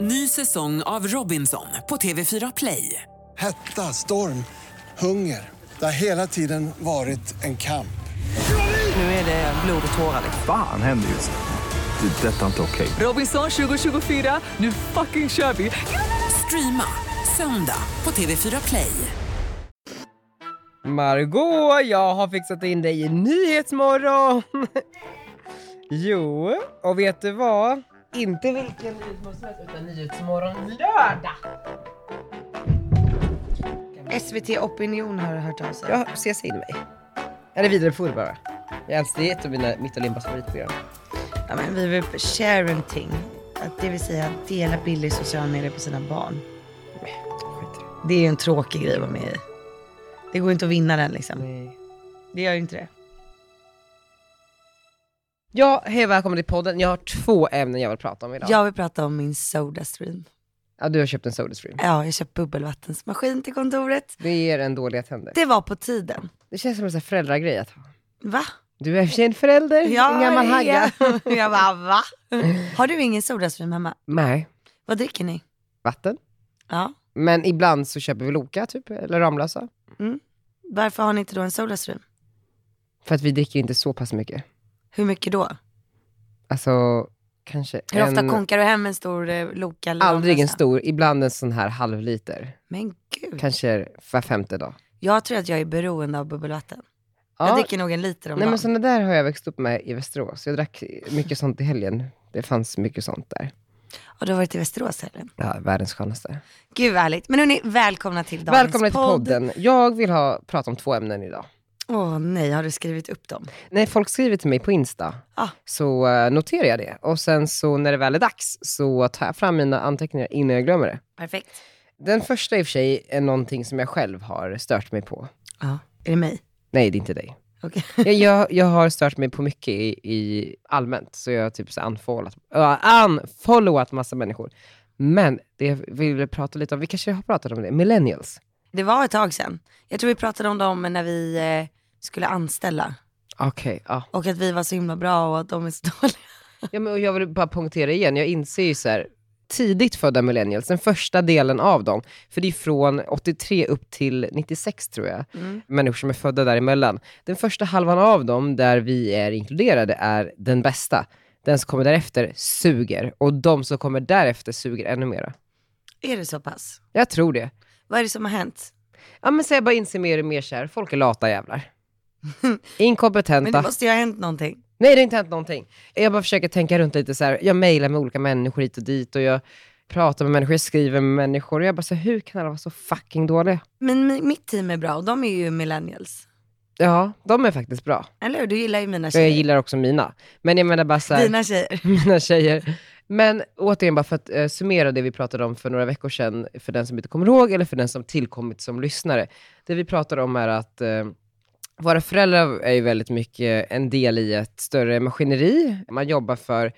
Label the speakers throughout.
Speaker 1: Ny säsong av Robinson på TV4 Play.
Speaker 2: Hetta, storm, hunger. Det har hela tiden varit en kamp.
Speaker 1: Nu är det blod och tårar. liksom.
Speaker 3: Fan händer just nu. Det. är Detta är inte okej.
Speaker 1: Robinson 2024, nu fucking kör vi! Streama söndag på TV4 Play.
Speaker 4: Margot, jag har fixat in dig i Nyhetsmorgon! jo, och vet du vad? Inte vilken Nyhetsmorgon som helst, utan Nyhetsmorgon lördag!
Speaker 5: SVT Opinion har hört av sig.
Speaker 4: Jag ses in mig. Eller vidare förr bara. Jag älskar det är ett av mina, mitt och Limbas favoritprogram.
Speaker 5: Ja, men vi vill share and ting. Att det vill säga att dela bilder i sociala medier på sina barn.
Speaker 4: Skit i det.
Speaker 5: Det är ju en tråkig grej att vara med i. Det går inte att vinna den liksom.
Speaker 4: Nej.
Speaker 5: Det gör ju inte det.
Speaker 4: Ja, hej välkommen till podden. Jag har två ämnen jag vill prata om idag.
Speaker 5: Jag vill prata om min Sodastream.
Speaker 4: Ja, du har köpt en Sodastream.
Speaker 5: Ja, jag köpte bubbelvattensmaskin till kontoret.
Speaker 4: Det ger en dåliga tänder.
Speaker 5: Det var på tiden.
Speaker 4: Det känns som en sån här föräldragrej att ha.
Speaker 5: Va?
Speaker 4: Du är i och för sig en förälder, en gammal hagga.
Speaker 5: jag- Jag bara, va? Har du ingen Sodastream hemma?
Speaker 4: Nej,
Speaker 5: Vad dricker ni?
Speaker 4: vatten.
Speaker 5: Ja.
Speaker 4: Men ibland så köper vi Loka typ, eller Ramlösa.
Speaker 5: Varför har ni inte då en Sodastream?
Speaker 4: För att vi dricker inte så pass mycket.
Speaker 5: Hur mycket då?
Speaker 4: Alltså kanske
Speaker 5: Hur ofta
Speaker 4: en,
Speaker 5: konkar du hem en stor eh, Loka? eller
Speaker 4: aldrig en
Speaker 5: Ramlösa?
Speaker 4: stor, ibland en sån här halvliter.
Speaker 5: Men gud.
Speaker 4: Kanske var femte dag.
Speaker 5: Jag tror att jag är beroende av bubbelvatten.
Speaker 4: Ja,
Speaker 5: Jag dricker nog en liter om
Speaker 4: Nej
Speaker 5: dagen.
Speaker 4: men såna där har jag växt upp med i Västerås. Jag drack mycket sånt i helgen. Det fanns mycket sånt där.
Speaker 5: Och du har varit i Västerås helgen.
Speaker 4: Ja, världens skönaste.
Speaker 5: Gud vad härligt. Men hörni, välkomna till dagens
Speaker 4: Välkomna till
Speaker 5: podd.
Speaker 4: podden. Jag vill ha, prata om två ämnen idag.
Speaker 5: Åh nej, har du skrivit upp dem?
Speaker 4: När folk skriver till mig på Insta
Speaker 5: Ah.
Speaker 4: så eh, noterar jag det. Och sen så när det väl är dags så tar jag fram mina anteckningar innan jag glömmer det.
Speaker 5: Perfekt.
Speaker 4: Den första i och för sig är någonting som jag själv har stört mig på.
Speaker 5: Ja. Är det mig?
Speaker 4: Nej, det är inte dig.
Speaker 5: Okej.
Speaker 4: Jag, jag, jag har stört mig på mycket i, i allmänt, så jag har typ så unfollowat, uh, unfollowat massa människor. Men det jag ville prata lite om, vi kanske har pratat om det, millennials.
Speaker 5: Det var ett tag sedan. Jag tror vi pratade om dem när vi eh, skulle anställa.
Speaker 4: Okej, ja.
Speaker 5: Och att vi var så himla bra och att de är så dåliga.
Speaker 4: ja men, och jag vill bara punktera igen, jag inser ju så här, tidigt födda millennials, den första delen av dem, för det är från 83 upp till 96 tror jag, människor som är födda däremellan. Den första halvan av dem, där vi är inkluderade, är den bästa. Den som kommer därefter suger, och de som kommer därefter suger ännu mera.
Speaker 5: Är det så pass?
Speaker 4: Jag tror det.
Speaker 5: Vad är det som har hänt?
Speaker 4: Ja men så jag bara inser mer och mer så här, folk är lata jävlar.
Speaker 5: Men
Speaker 4: Inkompetenta.
Speaker 5: det måste ju ha hänt någonting.
Speaker 4: Nej, det har inte hänt någonting. Jag bara försöker tänka runt lite så här. Jag mejlar med olika människor hit och dit och jag pratar med människor, jag skriver med människor. Och jag bara så här, hur kan alla vara så fucking dåliga?
Speaker 5: Men mi- mitt team är bra och de är ju millennials.
Speaker 4: Ja, de är faktiskt bra.
Speaker 5: Eller hur? Du gillar ju mina
Speaker 4: Jag
Speaker 5: tjejer.
Speaker 4: gillar också mina. Men jag menar bara så här,
Speaker 5: Dina tjejer.
Speaker 4: mina tjejer. Men återigen, bara för att eh, summera det vi pratade om för några veckor sedan, för den som inte kommer ihåg eller för den som tillkommit som lyssnare. Det vi pratar om är att eh, våra föräldrar är ju väldigt mycket en del i ett större maskineri. Man jobbar för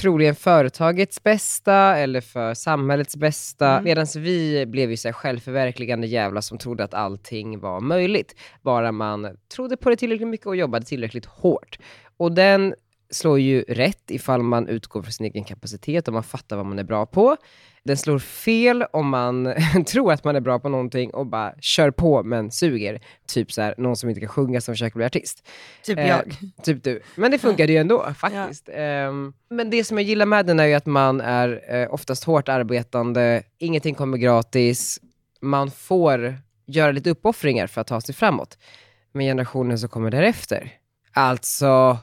Speaker 4: troligen företagets bästa eller för samhällets bästa. Medan vi blev ju så här självförverkligande jävlar som trodde att allting var möjligt. Bara man trodde på det tillräckligt mycket och jobbade tillräckligt hårt. Och den slår ju rätt ifall man utgår från sin egen kapacitet och man fattar vad man är bra på. Den slår fel om man tror att man är bra på någonting och bara kör på men suger. Typ så här, någon som inte kan sjunga som försöker bli artist.
Speaker 5: Typ
Speaker 4: Eh,
Speaker 5: jag.
Speaker 4: Typ du. Men det funkade ju ändå faktiskt. Ehm, men det som jag gillar med den är ju att man är eh, oftast hårt arbetande, ingenting kommer gratis, man får göra lite uppoffringar för att ta sig framåt. Men generationen som kommer därefter, alltså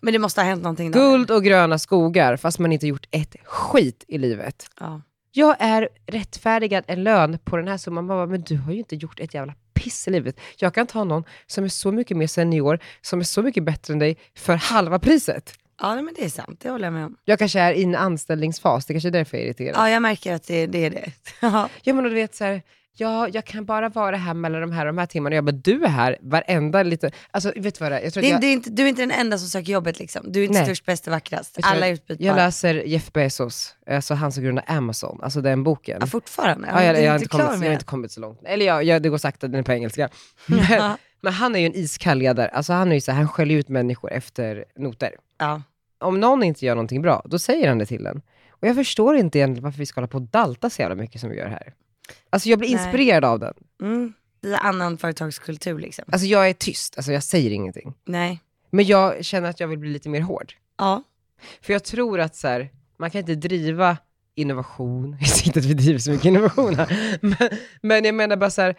Speaker 5: Men det måste ha hänt någonting. då.
Speaker 4: Guld och gröna skogar, fast man inte gjort ett skit i livet.
Speaker 5: Ja.
Speaker 4: Jag är rättfärdigad en lön på den här summan. Man bara, men du har ju inte gjort ett jävla piss i livet. Jag kan ta någon som är så mycket mer senior, som är så mycket bättre än dig, för halva priset.
Speaker 5: ja, men det är sant. Det håller jag med om.
Speaker 4: Jag kanske är i en anställningsfas, det kanske är därför jag är irriterad.
Speaker 5: Ja, jag märker att det, det är det. Ja.
Speaker 4: Ja, men och du vet så här, ja, jag kan bara vara här mellan de här och de här timmarna. Jag bara, du är här varenda liten... Alltså, vet du vad det är? Jag tror att
Speaker 5: Det, är-
Speaker 4: jag,
Speaker 5: det är inte, du är inte den enda som söker jobbet liksom. Du är inte
Speaker 4: Nej.
Speaker 5: störst, bäst och vackrast.
Speaker 4: jag tror
Speaker 5: Alla är
Speaker 4: att- Jag
Speaker 5: utbytbara.
Speaker 4: läser Jeff Bezos, alltså han som grundade Amazon, alltså den boken.
Speaker 5: Ja, fortfarande.
Speaker 4: Ja, jag,
Speaker 5: du är
Speaker 4: jag, har inte
Speaker 5: klar
Speaker 4: kommit, jag
Speaker 5: med
Speaker 4: har
Speaker 5: det.
Speaker 4: inte kommit så långt. Eller jag, jag, det går sakta, den är på engelska. Men,
Speaker 5: Ja.
Speaker 4: men han är ju en iskall ledare. Alltså han, är ju så här, han skäller ut människor efter noter.
Speaker 5: Ja.
Speaker 4: Om någon inte gör någonting bra, då säger han det till en. Och jag förstår inte egentligen varför vi ska hålla på och dalta så jävla mycket som vi gör här. Alltså jag blir
Speaker 5: Nej.
Speaker 4: inspirerad av den.
Speaker 5: Mm. Det är annan företagskultur liksom.
Speaker 4: Alltså jag är tyst, alltså jag säger ingenting.
Speaker 5: Nej.
Speaker 4: Men jag känner att jag vill bli lite mer hård.
Speaker 5: Ja.
Speaker 4: För jag tror att så här, man kan inte driva innovation, jag ser inte att vi driver så mycket innovation här, men, men jag menar bara så här,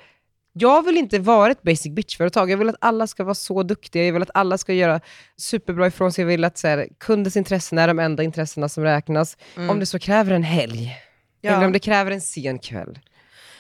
Speaker 4: jag vill inte vara ett basic bitch-företag. Jag vill att alla ska vara så duktiga, jag vill att alla ska göra superbra ifrån sig. Jag vill att så här, kundens intressen är de enda intressena som räknas. Om det så kräver en helg, eller om det kräver en sen kväll.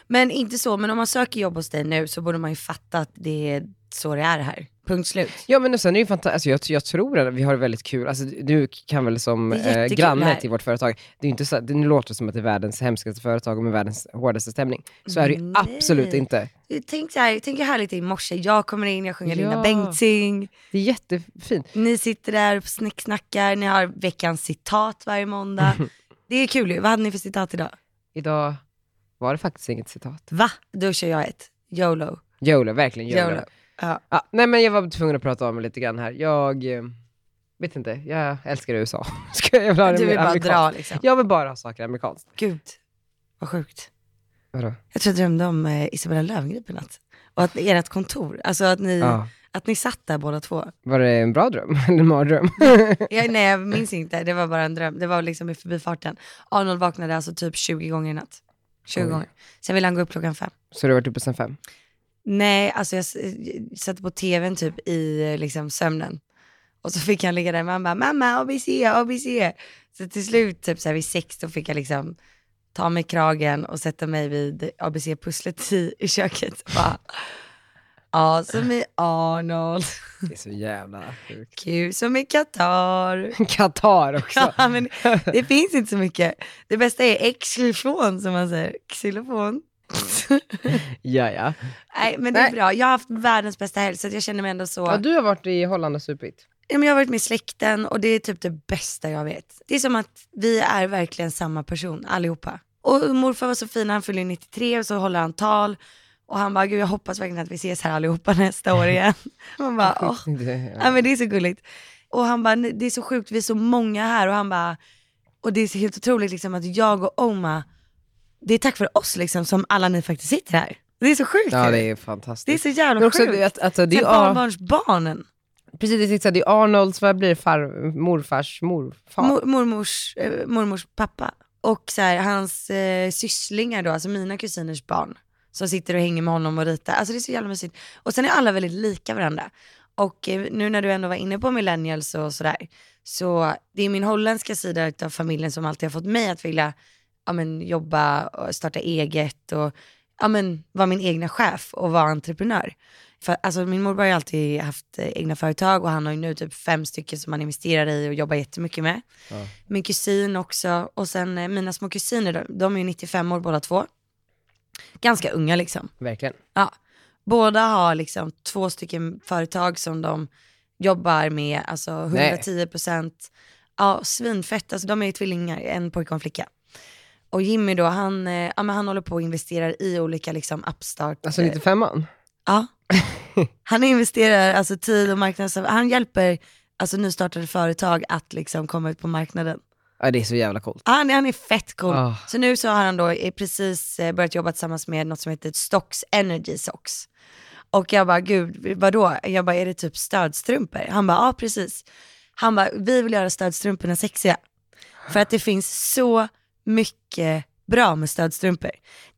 Speaker 5: Men inte så, men om man söker jobb hos dig nu så borde man ju fatta att det är så det är här. Punkt slut.
Speaker 4: Ja men och sen är det ju fantastiskt, alltså, jag, jag tror att vi har det väldigt kul. Alltså, du kan väl som
Speaker 5: Det är jättekul
Speaker 4: eh, granne
Speaker 5: här.
Speaker 4: till vårt företag, det, är ju inte så, det nu låter det som att det är världens hemskaste företag och med världens hårdaste stämning. Så är det ju
Speaker 5: Mm. Nej.
Speaker 4: absolut inte.
Speaker 5: Tänk så här, tänk hur härligt det är i morse. Jag kommer in, jag sjunger Linda
Speaker 4: Ja.
Speaker 5: Bengtzing.
Speaker 4: Det är jättefint.
Speaker 5: Ni sitter där och snicksnackar, ni har veckans citat varje måndag. Det är kul ju. Vad hade ni för citat idag?
Speaker 4: Idag var det faktiskt inget citat.
Speaker 5: Va? Då kör jag ett. YOLO.
Speaker 4: YOLO, verkligen YOLO.
Speaker 5: YOLO. Ja.
Speaker 4: Ja, nej men jag var tvungen att prata om det lite grann här. Jag eh, vet inte, jag älskar USA. Ska jag vilja ha det
Speaker 5: Du
Speaker 4: mer
Speaker 5: vill bara
Speaker 4: amerikanskt?
Speaker 5: dra liksom.
Speaker 4: Jag vill bara ha saker amerikanskt.
Speaker 5: Gud, vad sjukt.
Speaker 4: Vadå?
Speaker 5: Jag tror jag drömde om eh, Isabella Löwengrip i natt. Och att ert kontor, alltså att ni,
Speaker 4: Ja.
Speaker 5: att ni satt där båda två.
Speaker 4: Var det en bra dröm? Eller en mardröm?
Speaker 5: Jag, nej jag minns inte, det var bara en dröm. Det var liksom i förbifarten. Arnold vaknade alltså typ 20 gånger i natt. 20
Speaker 4: Oj.
Speaker 5: gånger. Sen ville han gå upp klockan fem.
Speaker 4: Så du har varit uppe sen fem?
Speaker 5: Nej, alltså jag s- jag satte på tvn typ i eh, liksom sömnen. Och så fick han ligga där, man bara mamma ABC, ABC. Så till slut typ så här vid sex då fick jag liksom ta mig i kragen och sätta mig vid ABC-pusslet i, i köket. Och Bara, A som i Arnold,
Speaker 4: Det är så jävla sjukt.
Speaker 5: Q som i Qatar.
Speaker 4: Qatar också.
Speaker 5: Ja, men det finns inte så mycket. Det bästa är xylofon som man säger. Xylofon.
Speaker 4: ja, ja.
Speaker 5: Nej men det är
Speaker 4: Nej.
Speaker 5: bra, jag har haft världens bästa helg så att jag känner mig ändå så...
Speaker 4: ja. Du har varit i Holland och supit.
Speaker 5: Ja, men Jag har varit med släkten och det är typ det bästa jag vet. Det är som att vi är verkligen samma person allihopa. Och morfar var så fin, han fyller 93 och så håller han tal. Och han bara, gud jag hoppas verkligen att vi ses här allihopa nästa år igen. Man bara, åh.
Speaker 4: Det-
Speaker 5: Ja men det är så gulligt. Och han bara, "Nej, det är så sjukt, vi är så många här. Och han bara, och det är så helt otroligt liksom att jag och Oma, det är tack vare oss liksom som alla ni faktiskt sitter här. Det är så sjukt
Speaker 4: Ja,
Speaker 5: ju.
Speaker 4: det är
Speaker 5: det är
Speaker 4: fantastiskt.
Speaker 5: så jävla
Speaker 4: Men också
Speaker 5: sjukt.
Speaker 4: det, att, alltså, det är
Speaker 5: Sen
Speaker 4: ju Ar-
Speaker 5: barnbarnsbarnen.
Speaker 4: precis, det är så här, det är Arnolds, vad blir det, far, morfars morfar?
Speaker 5: Mor- mormors, eh, mormors pappa och så här, hans eh, sysslingar då, alltså mina kusiners barn som sitter och hänger med honom och ritar. Alltså det är så jävla mysigt. Och sen är alla väldigt lika varandra. Och eh, nu när du ändå var inne på millennials och sådär, så det är min holländska sida av familjen som alltid har fått mig att vilja ja, men, jobba och starta eget och ja, men, vara min egna chef och vara entreprenör. För, alltså, min morbror har ju alltid haft eh, egna företag och han har ju nu typ fem stycken som han investerar i och jobbar jättemycket med. Min kusin också och sen eh, mina små kusiner, de, de är ju 95 år båda två. Ganska unga liksom.
Speaker 4: Verkligen.
Speaker 5: Ja. Båda har liksom två stycken företag som de jobbar med, alltså 110 procent. Ja, svinfett, alltså de är ju tvillingar, en pojke och en flicka. Och Jimmy då, han, eh, ja, men han håller på och investerar i olika liksom upstart.
Speaker 4: Alltså 95an?
Speaker 5: Ja. Han investerar alltså tid och marknads... Han hjälper alltså nystartade företag att liksom komma ut på marknaden.
Speaker 4: Ja, det är så jävla coolt.
Speaker 5: Han, han är fett cool.
Speaker 4: Ah.
Speaker 5: Så nu så har han då eh, precis eh, börjat jobba tillsammans med något som heter Stocks Energy Socks. Och jag bara, gud, vadå? Jag bara, är det typ stödstrumpor? Han bara, ja precis. Han bara, vi vill göra stödstrumporna sexiga. För att det finns så mycket bra med stödstrumpor.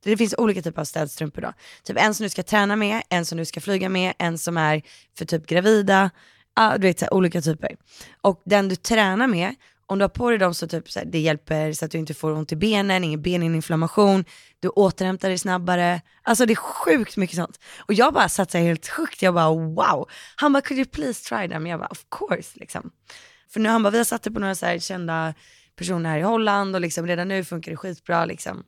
Speaker 5: Det finns olika typer av stödstrumpor då. Typ en som du ska träna med, en som du ska flyga med, en som är för typ gravida. Ja, du vet så här, olika typer. Och den du tränar med, om du har på dig dem så typ så här, det hjälper så att du inte får ont i benen, ingen beninflammation, du återhämtar dig snabbare. Alltså det är sjukt mycket sånt. Och jag bara satt så här helt sjukt, jag bara wow. Han bara, could you please try them? Jag bara, of course liksom. För nu han bara, vi har satt det på några så här kända personer här i Holland och liksom redan nu funkar det skitbra liksom.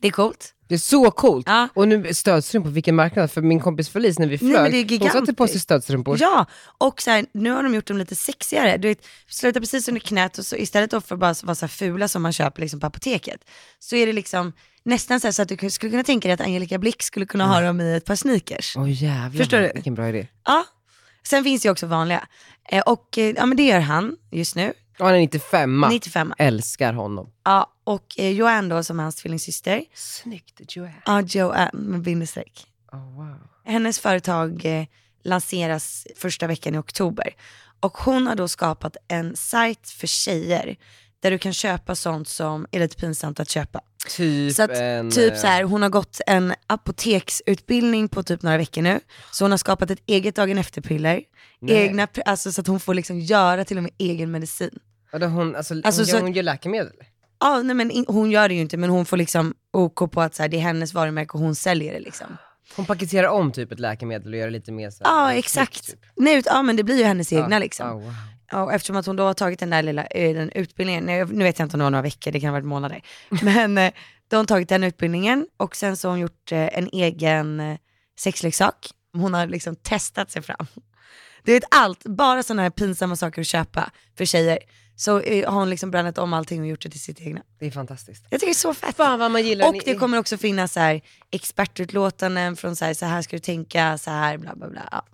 Speaker 5: Det är coolt.
Speaker 4: Det är så coolt.
Speaker 5: Ja.
Speaker 4: Och nu stödstrumpor, vilken marknad. För min kompis Felice, när vi
Speaker 5: Nej,
Speaker 4: flög,
Speaker 5: men det är
Speaker 4: hon satte på sig
Speaker 5: gigantiskt.
Speaker 4: stödstrumpor.
Speaker 5: Ja, och så här, nu har de gjort dem lite sexigare. Du vet, slutar precis under knät och så istället då för att bara vara så här fula som man köper liksom på apoteket, så är det liksom nästan så, här så att du skulle kunna tänka dig att Angelica Blick skulle kunna ha dem i ett par sneakers.
Speaker 4: Åh jävlar,
Speaker 5: Förstår du?
Speaker 4: vilken bra idé.
Speaker 5: Ja. Sen finns det ju också vanliga. Eh, och eh, ja, men det gör han just nu.
Speaker 4: Och han är 95
Speaker 5: 95.
Speaker 4: Älskar honom.
Speaker 5: Ja, och eh, Joanne då som är hans tvillingsyster.
Speaker 4: Snyggt Joanne.
Speaker 5: Ja, Joanne med bindestreck.
Speaker 4: Oh, wow.
Speaker 5: Hennes företag eh, lanseras första veckan i oktober. Och hon har då skapat en sajt för tjejer där du kan köpa sånt som är lite pinsamt att köpa.
Speaker 4: Typ
Speaker 5: Så att,
Speaker 4: en...
Speaker 5: typ
Speaker 4: eh,
Speaker 5: så här, hon har gått en apoteksutbildning på typ några veckor nu. Så hon har skapat ett eget dagen efter-piller.
Speaker 4: Nej.
Speaker 5: Egna, pr- alltså så att hon får liksom göra till och med egen medicin.
Speaker 4: Vadå, hon, alltså,
Speaker 5: Alltså,
Speaker 4: hon, gör-
Speaker 5: så-
Speaker 4: hon gör läkemedel?
Speaker 5: Ja, nej men in, hon gör det ju inte men hon får liksom OK på att så här, det är hennes varumärke och hon säljer det liksom.
Speaker 4: Hon paketerar om typ ett läkemedel och gör det lite mer så här-
Speaker 5: Ja exakt.
Speaker 4: Typ.
Speaker 5: Nej, ut- ja men det blir ju hennes egna
Speaker 4: Ja.
Speaker 5: liksom.
Speaker 4: Ja, wow.
Speaker 5: Ja, och eftersom att hon då har tagit den där lilla eh, den utbildningen, nu, nu vet jag inte om det var några veckor, det kan ha varit månader. Men eh, då har hon tagit den utbildningen och sen så har hon gjort eh, en egen eh, sexleksak. Hon har liksom testat sig fram. Du vet allt, bara sådana här pinsamma saker att köpa för tjejer. Så eh, har hon liksom blandat om allting och gjort det till sitt egna.
Speaker 4: Det är fantastiskt.
Speaker 5: Jag tycker det är så fett.
Speaker 4: Fan vad man gillar
Speaker 5: Och det kommer också finnas så här expertutlåtanden från så här, så här ska du tänka, så här bla bla bla. Ja.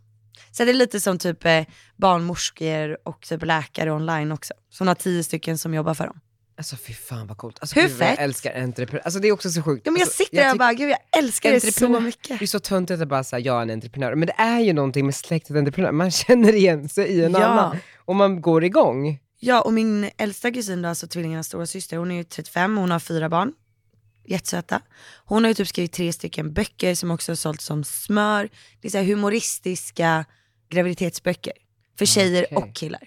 Speaker 5: Så det är lite som typ eh, barnmorskor och typ läkare online också. Så hon har tio stycken som jobbar för dem.
Speaker 4: Alltså fy fan vad coolt. Alltså,
Speaker 5: Hur
Speaker 4: gud, vad
Speaker 5: fett?
Speaker 4: Jag älskar entreprenörer. Alltså det är också så sjukt.
Speaker 5: Ja, men jag
Speaker 4: alltså,
Speaker 5: sitter där och
Speaker 4: tycker-
Speaker 5: bara, gud jag älskar det så
Speaker 4: Entreprenör-
Speaker 5: mycket.
Speaker 4: Det är så töntigt att bara säga jag är en entreprenör. Men det är ju någonting med släktet entreprenör. Man känner igen sig i en
Speaker 5: Ja.
Speaker 4: annan. Och man går igång.
Speaker 5: Ja och min äldsta kusin då, alltså tvillingarnas stora syster, hon är ju 35 hon har fyra barn. Jättesöta. Hon har ju typ skrivit tre stycken böcker som också har sålts som smör. Det är så här humoristiska graviditetsböcker. För tjejer
Speaker 4: Okej.
Speaker 5: och killar.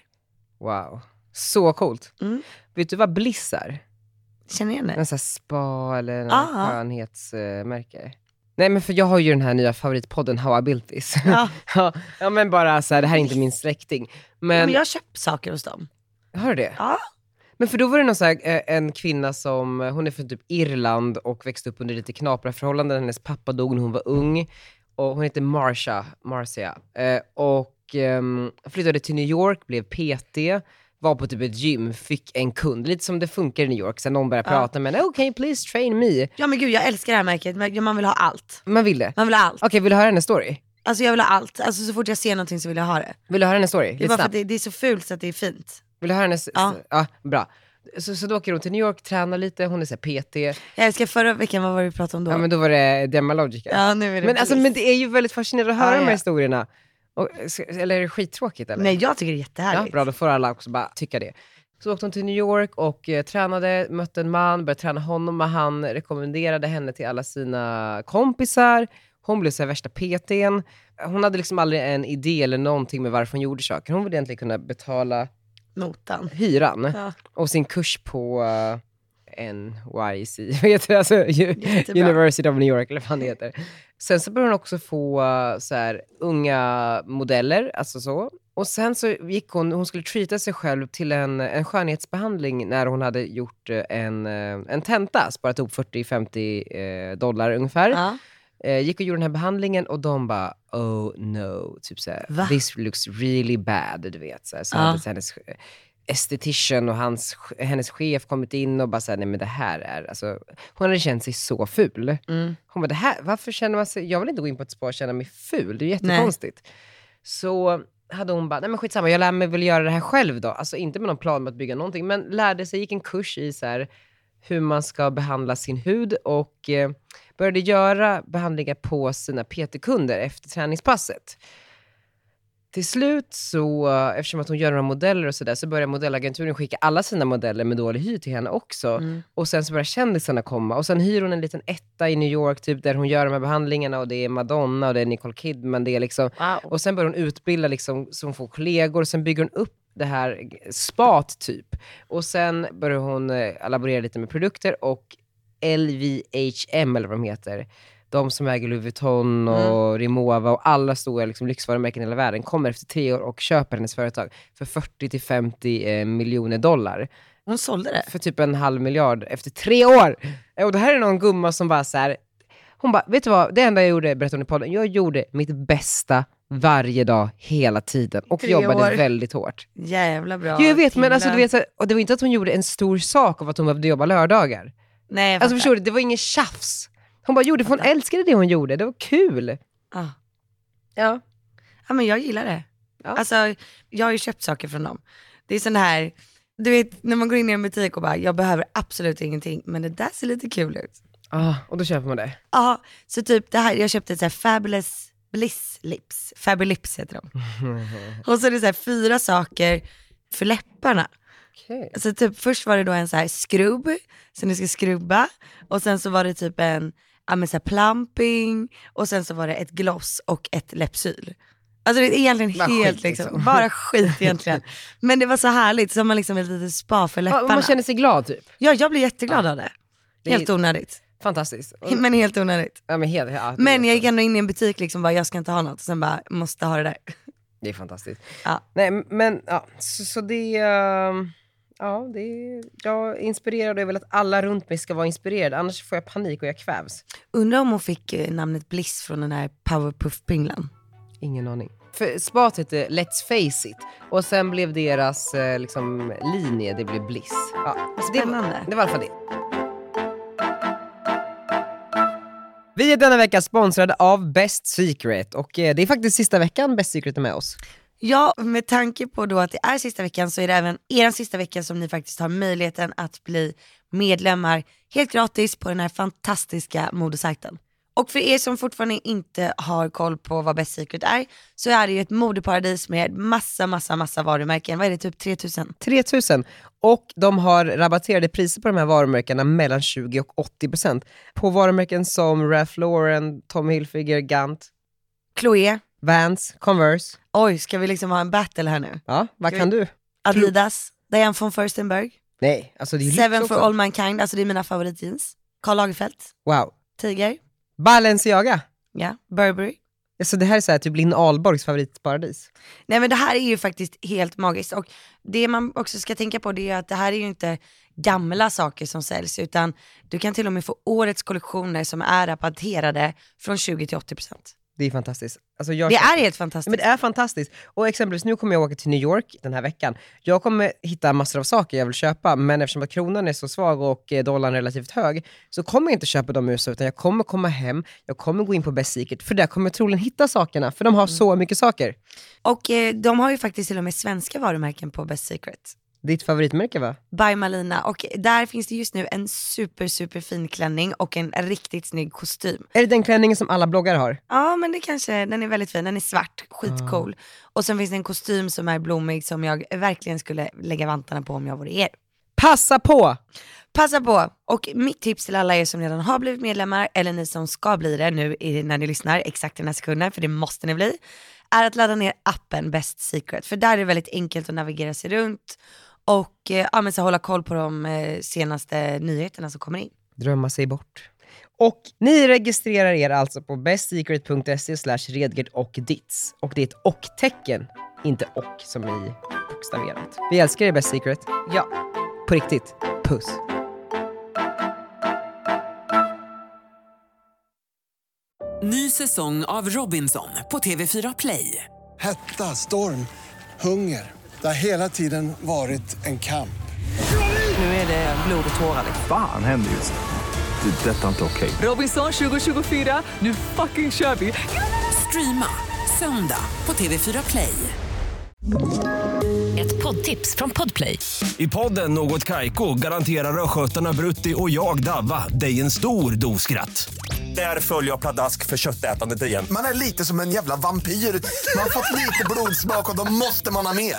Speaker 4: Wow. Så coolt.
Speaker 5: Mm.
Speaker 4: Vet du vad Bliss är?
Speaker 5: Känner igen det?
Speaker 4: En sån här spa eller en
Speaker 5: Ah.
Speaker 4: skönhetsmärke. Nej men för jag har ju den här nya favoritpodden How I Built This.
Speaker 5: Ja.
Speaker 4: Ja, ja men bara så här, det här är inte min släkting. Men,
Speaker 5: Men jag har köpt saker hos dem.
Speaker 4: har du det?
Speaker 5: Ja.
Speaker 4: Men för då var det någon så här, eh, en kvinna som, eh, hon är från typ Irland och växte upp under lite knapra förhållanden. Hennes pappa dog när hon var ung. Och hon heter Marsha, Marcia. Eh, och ehm, flyttade till New York, blev PT, var på typ ett gym, fick en kund. Lite som det funkar i New York. Sen någon började
Speaker 5: Ja.
Speaker 4: prata med henne, okej please train me.
Speaker 5: Ja men gud jag älskar det här märket, Men man vill ha allt.
Speaker 4: Man vill det.
Speaker 5: Man vill ha allt.
Speaker 4: Okej, vill du höra hennes story?
Speaker 5: Alltså jag vill ha allt. Alltså så fort jag ser någonting så vill jag ha det.
Speaker 4: Vill du höra hennes story?
Speaker 5: Det
Speaker 4: Lite
Speaker 5: är bara för
Speaker 4: snabbt.
Speaker 5: att det, det är så fult så att det är fint.
Speaker 4: Vill du höra hennes?
Speaker 5: Ja.
Speaker 4: ja bra. Så, så då åker hon till New York, tränar lite, hon är så här PT.
Speaker 5: Jag älskar förra veckan, vad var det vi pratade om då?
Speaker 4: Ja men då var det Demalogica.
Speaker 5: Ja, nu är det
Speaker 4: Men, alltså,
Speaker 5: Bliss.
Speaker 4: men det är ju väldigt fascinerande att höra
Speaker 5: Ja,
Speaker 4: de
Speaker 5: ja.
Speaker 4: här historierna. Och, eller är det skittråkigt eller?
Speaker 5: Nej jag tycker det
Speaker 4: ja,
Speaker 5: är jättehärligt.
Speaker 4: bra, då får alla också bara tycka det. Så åkte hon till New York och eh, tränade, mötte en man, började träna honom och han rekommenderade henne till alla sina kompisar. Hon blev så här värsta PTn. Hon hade liksom aldrig en idé eller någonting med varför hon gjorde saker. Hon ville egentligen kunna betala
Speaker 5: Notan.
Speaker 4: hyran
Speaker 5: Ja.
Speaker 4: och sin kurs på eh, NYC, vad heter det? Alltså, ju-
Speaker 5: Jättebra.
Speaker 4: University of New York eller vad fan det heter. Sen så började hon också få eh, så här, unga modeller, alltså så. Och sen så gick hon, hon skulle treata sig själv till en, en skönhetsbehandling när hon hade gjort eh, en, eh, en tenta, sparat ihop 40-50 eh, dollar ungefär.
Speaker 5: Ja.
Speaker 4: Eh, gick och gjorde den här behandlingen och de bara oh no, typ
Speaker 5: Va?
Speaker 4: såhär, this looks really bad, du vet. Såhär. Så
Speaker 5: Ja.
Speaker 4: hade så hennes estetician och hans, hennes chef kommit in och bara såhär, nej men det här är, alltså, hon hade känt sig så ful.
Speaker 5: Mm.
Speaker 4: Hon bara, det här, varför känner man sig, jag vill inte gå in på ett spa och känna mig ful, det är ju jättekonstigt. Så hade hon bara, nej men skitsamma, jag lär mig väl göra det här själv då. Alltså inte med någon plan med att bygga någonting, men lärde sig, gick en kurs i så här, hur man ska behandla sin hud och eh, började göra behandlingar på sina PT-kunder efter träningspasset. Till slut så, eh, eftersom att hon gör några modeller och sådär, så börjar modellagenturen skicka alla sina modeller med dålig hy till henne också.
Speaker 5: Mm.
Speaker 4: Och sen så börjar kändisarna komma. Och sen hyr hon en liten etta i New York, typ, där hon gör de här behandlingarna. Och det är Madonna och det är Nicole Kidman. Det är liksom...
Speaker 5: Wow.
Speaker 4: Och sen börjar hon utbilda, liksom, så hon får kollegor. Och sen bygger hon upp det här spat, typ. Och sen börjar hon eh, laborera lite med produkter. Och LVHM, eller vad de heter, de som äger Louis Vuitton och Rimowa och alla stora liksom, lyxvarumärken i hela världen, kommer efter tre år och köper hennes företag för 40-50 eh, miljoner dollar
Speaker 5: Hon sålde det.
Speaker 4: för typ en halv miljard efter tre år. Eh, Och det här är någon gumma som bara så här. hon bara, vet du vad, det enda jag gjorde, berättade hon i podden, jag gjorde mitt bästa varje dag hela tiden och
Speaker 5: Tre
Speaker 4: jobbade
Speaker 5: år.
Speaker 4: väldigt hårt.
Speaker 5: Jävla bra.
Speaker 4: Ja, jag vet, men alltså, du
Speaker 5: killar.
Speaker 4: vet, så här, och det var inte att hon gjorde en stor sak av att hon behövde jobba lördagar.
Speaker 5: Nej jag
Speaker 4: Alltså
Speaker 5: fattar.
Speaker 4: förstår du, det var ingen tjafs. Hon bara gjorde, för hon älskade det hon gjorde, det var kul.
Speaker 5: Ja.
Speaker 4: Ja.
Speaker 5: Ja men jag gillar det.
Speaker 4: Ja.
Speaker 5: Alltså jag har ju köpt saker från dem. Det är sån här, du vet när man går in i en butik och bara, jag behöver absolut ingenting, men det där ser lite kul ut.
Speaker 4: Ah, och då köper man det.
Speaker 5: Ja, så typ det här, jag köpte ett så här Fabulous Bliss Lips, Fabulips heter de. Och så är det så här fyra saker för läpparna.
Speaker 4: Okej.
Speaker 5: Så typ först var det då en så här skrubb, som du ska skrubba, och sen så var det typ en ja, men så här plumping, och sen så var det ett gloss och ett läppsyl. Alltså det är egentligen
Speaker 4: Bara
Speaker 5: helt
Speaker 4: skit,
Speaker 5: liksom,
Speaker 4: liksom.
Speaker 5: bara skit egentligen. Men det var så härligt, så har man liksom ett litet spa för läpparna.
Speaker 4: man känner sig glad typ.
Speaker 5: Ja, jag blev jätteglad av det.
Speaker 4: Det är-
Speaker 5: Helt onödigt,
Speaker 4: Fantastiskt. Och,
Speaker 5: men helt onödigt.
Speaker 4: ja, men, helt, ja, det är alltså-
Speaker 5: Men jag
Speaker 4: så.
Speaker 5: gick ändå in i en butik liksom bara, jag ska inte ha något, och sen bara, måste ha det där.
Speaker 4: Det är fantastiskt.
Speaker 5: Ja.
Speaker 4: Nej, men ja, så, så det... ehm, Ja, det är, jag är inspirerad och jag vill att alla runt mig ska vara inspirerade, annars får jag panik och jag kvävs.
Speaker 5: Undrar om hon fick eh, namnet Bliss från den här powerpuff-pinglan.
Speaker 4: Ingen aning. För spat hette Let's Face It och sen blev deras eh, liksom, linje, det blev Bliss. Ja, Det
Speaker 5: spännande.
Speaker 4: var, det var i alla fall det. Vi är denna vecka sponsrade av Best Secret och eh, det är faktiskt sista veckan Best Secret är med oss.
Speaker 5: Ja, med tanke på då att det är sista veckan så är det även er sista vecka som ni faktiskt har möjligheten att bli medlemmar helt gratis på den här fantastiska modesajten. Och för er som fortfarande inte har koll på vad Best Secret är så är det ju ett modeparadis med massa, massa, massa varumärken. Vad är det, typ 3000?
Speaker 4: 3000 och de har rabatterade priser på de här varumärkena mellan 20 och 80% på varumärken som Ralph Lauren, Tommy Hilfiger, Gant,
Speaker 5: Chloé,
Speaker 4: Vans, Converse.
Speaker 5: oj ska vi liksom ha en battle här nu?
Speaker 4: Ja, vad kan du?
Speaker 5: Adidas, Diane von Furstenberg,
Speaker 4: Nej, alltså det är ju lyx
Speaker 5: Seven for
Speaker 4: också.
Speaker 5: All Mankind, alltså det är mina favoritjeans. Karl Lagerfeld,
Speaker 4: Wow.
Speaker 5: Tiger,
Speaker 4: Balenciaga.
Speaker 5: ja, Burberry.
Speaker 4: Alltså det här är så här, typ Linn Ahlborgs favoritparadis.
Speaker 5: Nej men det här är ju faktiskt helt magiskt och det man också ska tänka på det är ju att det här är ju inte gamla saker som säljs utan du kan till och med få årets kollektioner som är rabatterade från 20 till 80%.
Speaker 4: Det är fantastiskt. Alltså jag
Speaker 5: Det
Speaker 4: köper-
Speaker 5: är helt
Speaker 4: Ja, Men
Speaker 5: fantastiskt.
Speaker 4: det är fantastiskt. Och exempelvis nu kommer jag åka till New York den här veckan. Jag kommer hitta massor av saker jag vill köpa, men eftersom att kronan är så svag och eh, dollarn relativt hög, så kommer jag inte köpa dem i USA, utan jag kommer komma hem, jag kommer gå in på Best Secret, för där kommer jag troligen hitta sakerna, för de har så mycket saker.
Speaker 5: Och eh, de har ju faktiskt till och med svenska varumärken på Best Secret.
Speaker 4: Ditt favoritmärke va?
Speaker 5: by Malina och där finns det just nu en super super fin klänning och en riktigt snygg kostym.
Speaker 4: Är det den klänningen som alla bloggare har?
Speaker 5: Ja men det kanske, den är väldigt fin, den är svart, skitcool. Och sen finns det en kostym som är blommig som jag verkligen skulle lägga vantarna på om jag vore er.
Speaker 4: Passa på!
Speaker 5: Passa på! Och mitt tips till alla er som redan har blivit medlemmar, eller ni som ska bli det nu i- när ni lyssnar, exakt den här sekunden, för det måste ni bli, är att ladda ner appen Best Secret. För där är det väldigt enkelt att navigera sig runt och eh, ja, men så hålla koll på de eh, senaste nyheterna som kommer in.
Speaker 4: drömma sig bort. Och ni registrerar er alltså på bestsecret.se slash redgert och dits. Och det är ett och-tecken, inte och som i bokstaverat. Vi älskar er Best Secret. Ja, på riktigt. Puss.
Speaker 1: Ny säsong av Robinson på TV4 Play.
Speaker 2: Hetta, storm, hunger. Det har hela tiden varit en kamp.
Speaker 1: Nu är det blod och tårar.
Speaker 3: Fan händer just nu. Det. är Detta är inte okej.
Speaker 1: Robinson 2024, nu fucking kör vi! Streama söndag på TV4 Play.
Speaker 6: Ett poddtips från Podplay.
Speaker 7: I podden Något Kaiko garanterar östgötarna Brutti och jag, Davva, dig en stor dos skratt. Där följer jag pladask för köttätandet igen.
Speaker 8: Man är lite som en jävla vampyr. Man har fått lite blodsmak och då måste man ha mer.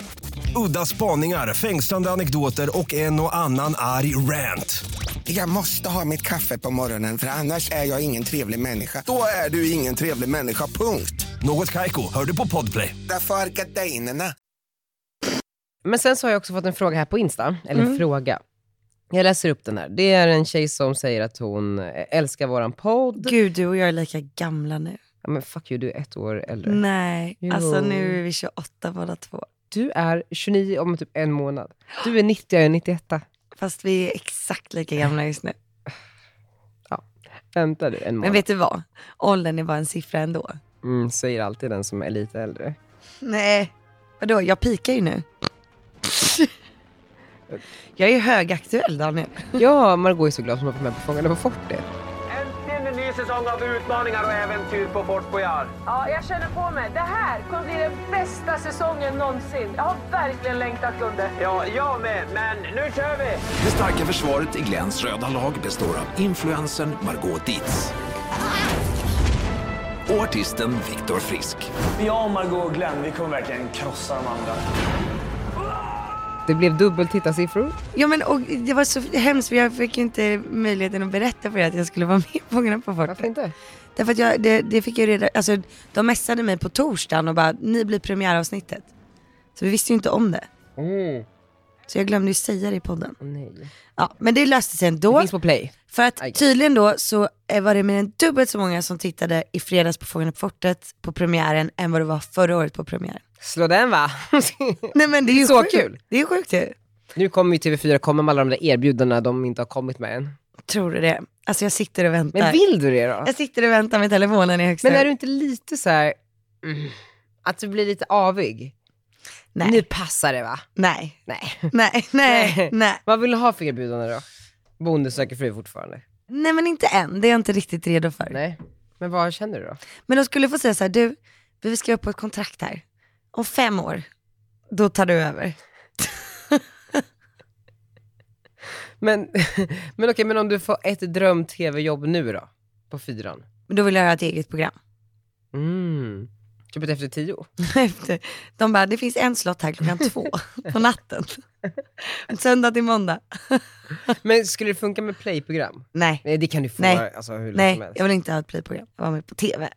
Speaker 7: Udda spaningar, fängslande anekdoter och en och annan arg rant.
Speaker 8: Jag måste ha mitt kaffe på morgonen för annars är jag ingen trevlig människa. Då är du ingen trevlig människa, punkt.
Speaker 7: Något Kaiko, hör du på Podplay.
Speaker 8: Därför är gardinerna.
Speaker 4: Men sen så har jag också fått en fråga här på Insta, eller en fråga. Jag läser upp den här. Det är en tjej som säger att hon eh, älskar våran podd.
Speaker 5: Gud, du och jag är lika gamla nu.
Speaker 4: Ja, men fuck you, du är ett år äldre.
Speaker 5: Nej,
Speaker 4: Jo.
Speaker 5: alltså nu är vi 28 båda två.
Speaker 4: Du är 29 om typ en månad. Du är 90, jag är 91.
Speaker 5: Fast vi är exakt lika gamla just nu.
Speaker 4: Vänta du en månad.
Speaker 5: Men vet du vad? Åldern är bara en siffra ändå.
Speaker 4: Mm, säger alltid den som är lite äldre.
Speaker 5: Nej, vadå? Jag pikar ju nu. Jag är högaktuell Daniel.
Speaker 4: Ja, Margot är så glad att hon har varit med på Fångarna på fortet.
Speaker 9: and
Speaker 6: in en ny säsong av utmaningar och äventyr på Fort Boyard.
Speaker 9: Ja, jag känner på mig. Det här kommer bli den bästa säsongen någonsin. Jag har verkligen längtat under.
Speaker 6: Ja, jag med, men nu kör vi!
Speaker 10: Det starka försvaret i Glens röda lag består av influensen Margot Dietz och artisten Viktor Frisk.
Speaker 11: Jag och Margot och Glenn, vi kommer verkligen krossa de andra.
Speaker 4: Det blev dubbeltittarsiffror.
Speaker 5: Ja men och det var så hemskt för jag fick ju inte möjligheten att berätta för er att jag skulle vara med på Fångarna på fortet.
Speaker 4: Varför inte?
Speaker 5: Därför att jag, det, det fick jag ju reda, alltså de messade mig på torsdagen och bara, ni blir premiäravsnittet. Så vi visste ju inte om det.
Speaker 4: Mm.
Speaker 5: Så jag glömde ju säga det i podden.
Speaker 4: Nej.
Speaker 5: Ja, men det löste sig
Speaker 4: Det
Speaker 5: ändå.
Speaker 4: finns på play.
Speaker 5: För att
Speaker 4: Aj.
Speaker 5: tydligen då så eh, var det mer än dubbelt så många som tittade i fredags på Fångarna på fortet på premiären än vad det var förra året på premiären.
Speaker 4: Slå den va?
Speaker 5: Nej men det är ju
Speaker 4: Så
Speaker 5: sjukt.
Speaker 4: kul.
Speaker 5: Det är sjukt ju.
Speaker 4: nu kommer ju TV4 komma med alla de där erbjudandena de inte har kommit med än.
Speaker 5: Tror du det? Alltså jag sitter och väntar.
Speaker 4: Men vill du det då?
Speaker 5: Jag sitter och väntar med telefonen i högsta
Speaker 4: Men är du inte lite så här, mm, att du blir lite avig?
Speaker 5: Nej.
Speaker 4: Nu passar det va?
Speaker 5: Nej,
Speaker 4: Nej.
Speaker 5: nej, nej, nej.
Speaker 4: Vad vill du ha för erbjudande då? Bonde söker fru fortfarande?
Speaker 5: Nej men inte än, det är jag inte riktigt redo för.
Speaker 4: Nej. Men vad känner du då?
Speaker 5: Men de skulle få säga så här, du, vi ska upp på ett kontrakt här. Om fem år, då tar du över.
Speaker 4: Men, men okej, men om du får ett dröm-tv-jobb nu då? På fyran?
Speaker 5: Men Då vill jag ha ett eget program.
Speaker 4: Mm. Typ ett efter tio?
Speaker 5: Efter- De bara, det finns en slott här klockan två på natten. Söndag till måndag.
Speaker 4: Men skulle det funka med playprogram?
Speaker 5: Nej,
Speaker 4: Nej, det kan du få
Speaker 5: Nej.
Speaker 4: Alltså, hur långt som
Speaker 5: nej,
Speaker 4: helst.
Speaker 5: jag vill inte ha ett playprogram. Jag var med på tv.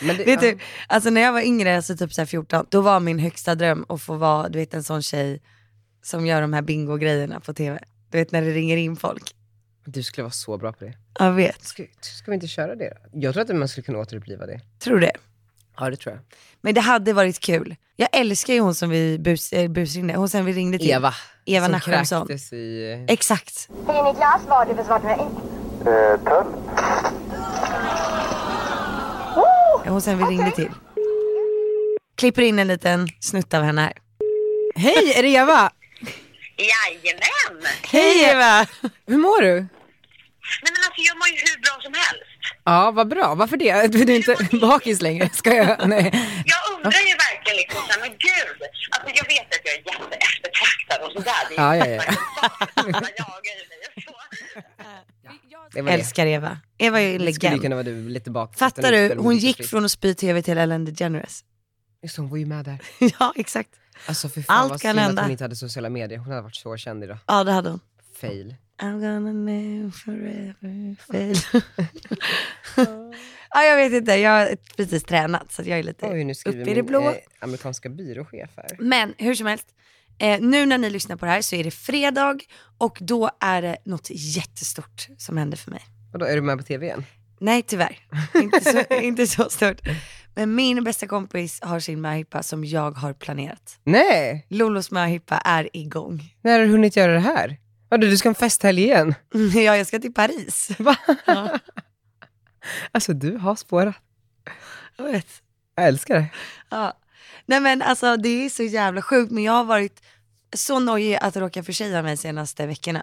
Speaker 4: Men det,
Speaker 5: Vet
Speaker 4: ja.
Speaker 5: du, alltså när jag var yngre, alltså typ så här 14, då var min högsta dröm att få vara, du vet en sån tjej som gör de här bingo-grejerna på tv. Du vet när det ringer in folk.
Speaker 4: du skulle vara så bra på det.
Speaker 5: Jag vet,
Speaker 4: Ska, ska vi inte köra det då? Jag tror att man skulle kunna återuppliva det.
Speaker 5: tror det.
Speaker 4: Ja, det tror jag.
Speaker 5: Men det hade varit kul. Jag älskar ju hon som vi bus, äh, busringde, hon sen vi ringde till.
Speaker 4: Eva.
Speaker 5: Eva
Speaker 4: som
Speaker 5: Nachemson.
Speaker 4: kräktes i...
Speaker 5: Exakt.
Speaker 9: Hej Niklas, vad har du för svart mig?
Speaker 5: Hon sen vi ringde till. Klipper in en liten snutt av henne här.
Speaker 4: Hej, är det Eva?
Speaker 9: Jajamän!
Speaker 5: Hej Eva!
Speaker 4: Hur mår du?
Speaker 9: Nej men alltså jag mår ju hur bra som helst.
Speaker 4: Ja, vad bra. Varför det? Du är inte bakis längre. Ska jag? Nej.
Speaker 9: Jag undrar ju verkligen liksom såhär, men gud. Alltså jag vet att jag är jätteeftertraktad och sådär. Det är
Speaker 4: Ja,
Speaker 9: ju
Speaker 4: ja,
Speaker 9: exakt vad jag jagar i mig och så.
Speaker 4: Det var det.
Speaker 5: Älskar Eva. Eva är ju
Speaker 4: Det skulle ju
Speaker 5: legend.
Speaker 4: kunna vara du lite bakis.
Speaker 5: Fattar
Speaker 4: utan
Speaker 5: du?
Speaker 4: utspel och
Speaker 5: Hon
Speaker 4: lite
Speaker 5: gick
Speaker 4: frisk.
Speaker 5: från att spy tv till Ellen DeGeneres.
Speaker 4: Just det, hon var ju med där.
Speaker 5: ja, exakt.
Speaker 4: Alltså för fan
Speaker 5: Allt
Speaker 4: vad
Speaker 5: kan
Speaker 4: synd att
Speaker 5: hända.
Speaker 4: hon inte hade sociala medier. Hon hade varit så känd idag.
Speaker 5: Ja, det hade hon.
Speaker 4: Fail.
Speaker 5: I'm gonna live forever fail. ja, jag vet inte. Jag har precis tränat så att jag är lite
Speaker 4: Oj, nu
Speaker 5: uppe
Speaker 4: skriver
Speaker 5: i det
Speaker 4: min
Speaker 5: blå.
Speaker 4: eh, amerikanska byråchef här.
Speaker 5: Men hur som helst, eh, nu när ni lyssnar på det här så är det fredag och då är det något jättestort som händer för mig.
Speaker 4: Och då är du med på tv igen?
Speaker 5: Nej tyvärr, inte så, inte så stort. Men min bästa kompis har sin möhippa som jag har planerat.
Speaker 4: Nej!
Speaker 5: Lolos möhippa är igång.
Speaker 4: När har du hunnit göra det här? Vadå, du ska ha en festhelg igen?
Speaker 5: Ja, jag ska till Paris.
Speaker 4: Va?
Speaker 5: Ja.
Speaker 4: Alltså du har spårat.
Speaker 5: Jag vet.
Speaker 4: Jag älskar det.
Speaker 5: Ja. Nej men alltså det är så jävla sjukt men jag har varit så nojig att råka förtjäna mig senaste veckorna.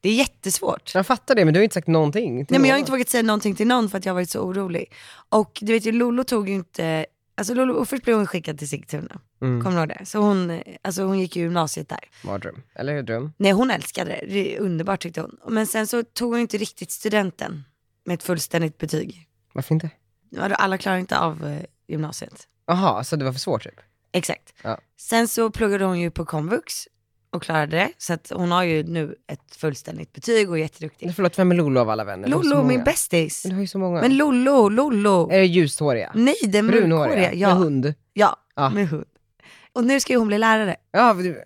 Speaker 5: Det är jättesvårt.
Speaker 4: Jag fattar det, men du har inte sagt någonting. till
Speaker 5: Nej men jag har
Speaker 4: någon.
Speaker 5: inte vågat säga någonting till någon för att jag har varit så orolig. Och du vet ju Lolo tog ju inte, alltså Lolo, och först blev hon skickad till Sigtuna,
Speaker 4: Mm.
Speaker 5: kommer du ihåg det? Så hon, eh, alltså hon gick ju gymnasiet där.
Speaker 4: Mardröm. Eller hur? Dröm.
Speaker 5: Nej hon älskade det, det är underbart tyckte hon. Men sen så tog hon ju inte riktigt studenten med ett fullständigt betyg.
Speaker 4: Varför inte?
Speaker 5: Vadå, Alla klarar inte av eh, gymnasiet.
Speaker 4: Jaha, så det var för svårt typ?
Speaker 5: Exakt.
Speaker 4: Ja.
Speaker 5: Sen så pluggade hon ju på komvux och klarade det. Så att hon har ju nu ett fullständigt betyg och är
Speaker 4: Nej,
Speaker 5: jätteduktig.
Speaker 4: Förlåt, vem är Lollo av alla vänner? Du har så
Speaker 5: Lollo,
Speaker 4: många.
Speaker 5: min bästis.
Speaker 4: Men Du har ju så många.
Speaker 5: Men Lollo, Lollo.
Speaker 4: är det ljushåriga?
Speaker 5: Nej, den
Speaker 4: Brunhåriga?
Speaker 5: mörkhåriga.
Speaker 4: Med
Speaker 5: Ja,
Speaker 4: hund?
Speaker 5: ja,
Speaker 4: Ja.
Speaker 5: med hund. Och nu ska ju hon bli lärare.
Speaker 4: Ja, men du-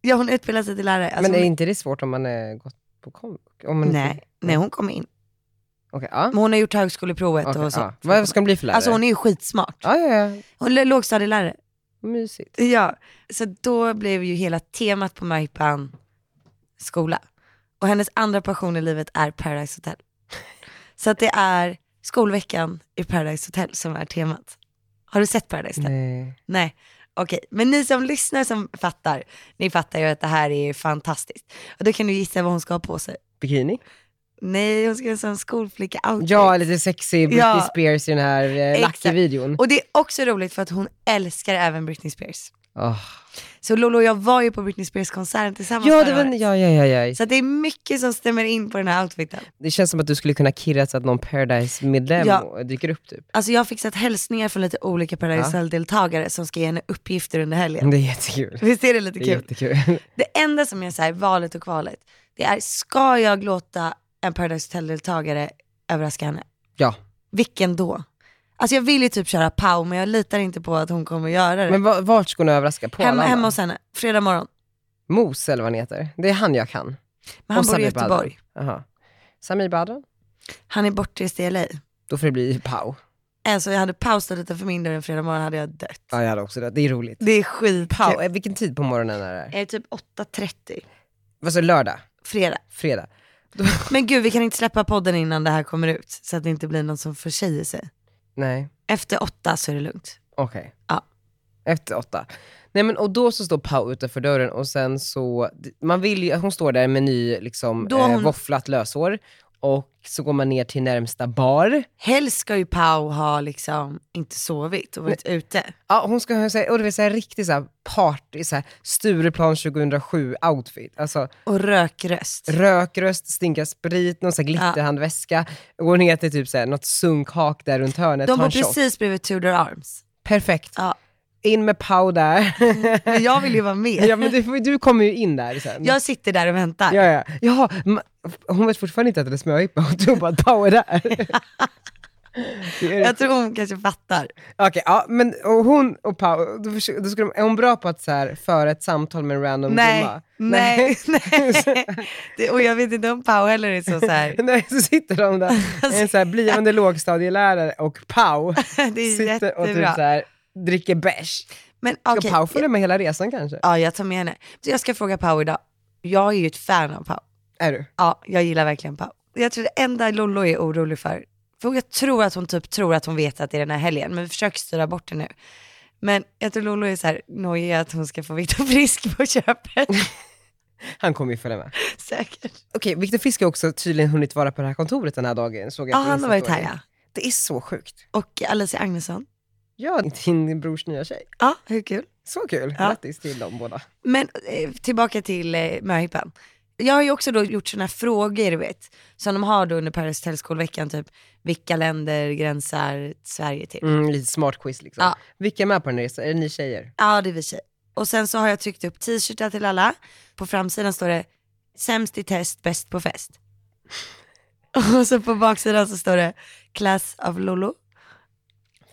Speaker 5: Ja, hon utbildar sig till lärare. Alltså,
Speaker 4: men är
Speaker 5: hon-
Speaker 4: inte det svårt om man är gått på komvux? Om man inte-
Speaker 5: nej, nej, hon kommer in.
Speaker 4: Okej, ja.
Speaker 5: Men hon har gjort högskoleprovet
Speaker 4: Okej,
Speaker 5: och så.
Speaker 4: ja. Vad ska hon bli för lärare?
Speaker 5: Alltså hon är ju skitsmart.
Speaker 4: Ja, ja, ja.
Speaker 5: Hon är lågstadielärare.
Speaker 4: Mysigt.
Speaker 5: Ja, så då blev ju hela temat på Marpan skola. Och hennes andra passion i livet är Paradise Hotel. Så att det är skolveckan i Paradise Hotel som är temat. Har du sett Paradise Hotel?
Speaker 4: Nej.
Speaker 5: Nej. Okej, men ni som lyssnar som fattar, ni fattar ju att det här är fantastiskt. Och då kan du gissa vad hon ska ha på sig.
Speaker 4: Bikini?
Speaker 5: Nej, hon ska vara en sån skolflicka outfit.
Speaker 4: Ja, typ- lite sexy Britney
Speaker 5: Ja.
Speaker 4: Spears i den här eh,
Speaker 5: Exakt.
Speaker 4: Lucky-videon.
Speaker 5: Och det är också roligt för att hon älskar även Britney Spears.
Speaker 4: Ah.
Speaker 5: Så Lolo och jag var ju på Britney Spears konserten tillsammans
Speaker 4: Ja, det
Speaker 5: förra
Speaker 4: var,
Speaker 5: året.
Speaker 4: ja, ja, ja, ja.
Speaker 5: Så att det är mycket som stämmer in på den här outfiten.
Speaker 4: Det känns som att du skulle kunna kirra så att någon Paradise-medlem
Speaker 5: Ja.
Speaker 4: dyker upp typ.
Speaker 5: Alltså jag har fixat hälsningar från lite olika Paradise
Speaker 4: Ja.
Speaker 5: Hotel-deltagare som ska ge henne uppgifter under helgen.
Speaker 4: Det är jättekul.
Speaker 5: Visst är det lite
Speaker 4: Det är
Speaker 5: kul?
Speaker 4: jättekul.
Speaker 5: Det enda som är så här, valet och kvalet, det är ska jag låta en Paradise Hotel-deltagare överraska henne?
Speaker 4: Ja.
Speaker 5: Vilken då? Alltså jag vill ju typ köra Pau, men jag litar inte på att hon kommer göra det.
Speaker 4: Men va- vart ska hon överraska? På
Speaker 5: hemma,
Speaker 4: Arlanda?
Speaker 5: hemma hos henne, fredag morgon.
Speaker 4: Mos eller vad han heter. Det är han jag kan.
Speaker 5: Men han
Speaker 4: Och
Speaker 5: bor i
Speaker 4: Samir Badran.
Speaker 5: Göteborg.
Speaker 4: Jaha. Samir Badran?
Speaker 5: Han är bortrest i LA.
Speaker 4: Då får det bli Pau.
Speaker 5: Alltså jag hade pausat lite för min dörr en fredag morgon hade jag dött.
Speaker 4: Ja, jag hade också det. Det är roligt.
Speaker 5: Det är skit.
Speaker 4: Pau, eh, vilken tid på morgonen är det? här?
Speaker 5: Är det typ 8.30?
Speaker 4: Alltså lördag,
Speaker 5: Fredag.
Speaker 4: fredag.
Speaker 5: Men gud, vi kan inte släppa podden innan det här kommer ut. Så att det inte blir någon som försäger sig.
Speaker 4: Nej,
Speaker 5: Efter åtta så är det lugnt.
Speaker 4: okej.
Speaker 5: Ja.
Speaker 4: Efter åtta. Nej men och då så står Pau utanför dörren och sen så, man vill ju, hon står där med ny liksom
Speaker 5: Då har
Speaker 4: eh,
Speaker 5: hon-
Speaker 4: våfflat löshår. Och så går man ner till närmsta bar.
Speaker 5: Helst ska ju Pau ha liksom inte sovit och varit ute.
Speaker 4: Ja, hon ska ha så här, och det är så här riktig så här party, så här Stureplan 2007-outfit. Alltså
Speaker 5: Och rökröst.
Speaker 4: rökröst, stinka sprit, någon så här glitterhandväska. Går ner till typ så här, något sunkhak där runt hörnet,
Speaker 5: De
Speaker 4: tar
Speaker 5: bor
Speaker 4: en shot.
Speaker 5: precis bredvid Tudor Arms.
Speaker 4: Perfekt.
Speaker 5: Ja. Mm.
Speaker 4: In med Pau där.
Speaker 5: Men jag vill ju vara med.
Speaker 4: ja, men du, du kommer ju in där sen.
Speaker 5: Jag sitter där och väntar.
Speaker 4: Ja, ja. Jaha, ma- hon vet fortfarande inte att det är smörhippa, hon tror bara att Pau är där. Det är-
Speaker 5: Jag tror hon kanske fattar.
Speaker 4: Okej, ja, men och hon och Pau, då, försö- då skulle de, är hon bra på att så här, föra ett samtal med en random
Speaker 5: Nej,
Speaker 4: gumma?
Speaker 5: nej, nej. Det, och jag vet inte om Pau heller är så, så här.
Speaker 4: Nej, så sitter de där, en så här blivande lågstadielärare och Pau
Speaker 5: Det är
Speaker 4: sitter och typ
Speaker 5: jättebra.
Speaker 4: så här, dricker bärs.
Speaker 5: Men
Speaker 4: Ska
Speaker 5: okej,
Speaker 4: Pau följa med hela resan kanske?
Speaker 5: Ja, jag tar med henne. Så jag ska fråga Pau idag. Jag är ju ett fan av Pau.
Speaker 4: Är du?
Speaker 5: Ja, jag gillar verkligen Pau. Jag tror det enda Lollo är orolig för, för jag tror att hon typ tror att hon vet att det är den här helgen, men vi försöker styra bort det nu. Men jag tror Lollo är så här nojig att hon ska få Viktor Frisk på köpet.
Speaker 4: Han kommer ju följa med.
Speaker 5: Säkert.
Speaker 4: Okej, Viktor Frisk har också tydligen hunnit vara på det här kontoret den här dagen. Såg jag
Speaker 5: Ja,
Speaker 4: på
Speaker 5: han har varit här
Speaker 4: Insta-storyn.
Speaker 5: ja.
Speaker 4: Det är så sjukt.
Speaker 5: Och Alicia Agnesson.
Speaker 4: Ja, din brors nya tjej.
Speaker 5: Ja, hur kul.
Speaker 4: Så kul.
Speaker 5: Ja.
Speaker 4: Grattis till dem båda.
Speaker 5: Men eh, tillbaka till eh, möhippan. Jag har ju också då gjort sådana här frågor, du vet, som de har då under Paris Tellskolveckan, typ vilka länder gränsar Sverige till?
Speaker 4: Mm, lite smart quiz liksom.
Speaker 5: Ja.
Speaker 4: Vilka är med på den här resan? Är det ni tjejer?
Speaker 5: Ja, det är vi tjejer. Och sen så har jag tryckt upp t-shirtar till alla. På framsidan står det sämst i test, bäst på fest. Och så på baksidan så står det class of Lolo.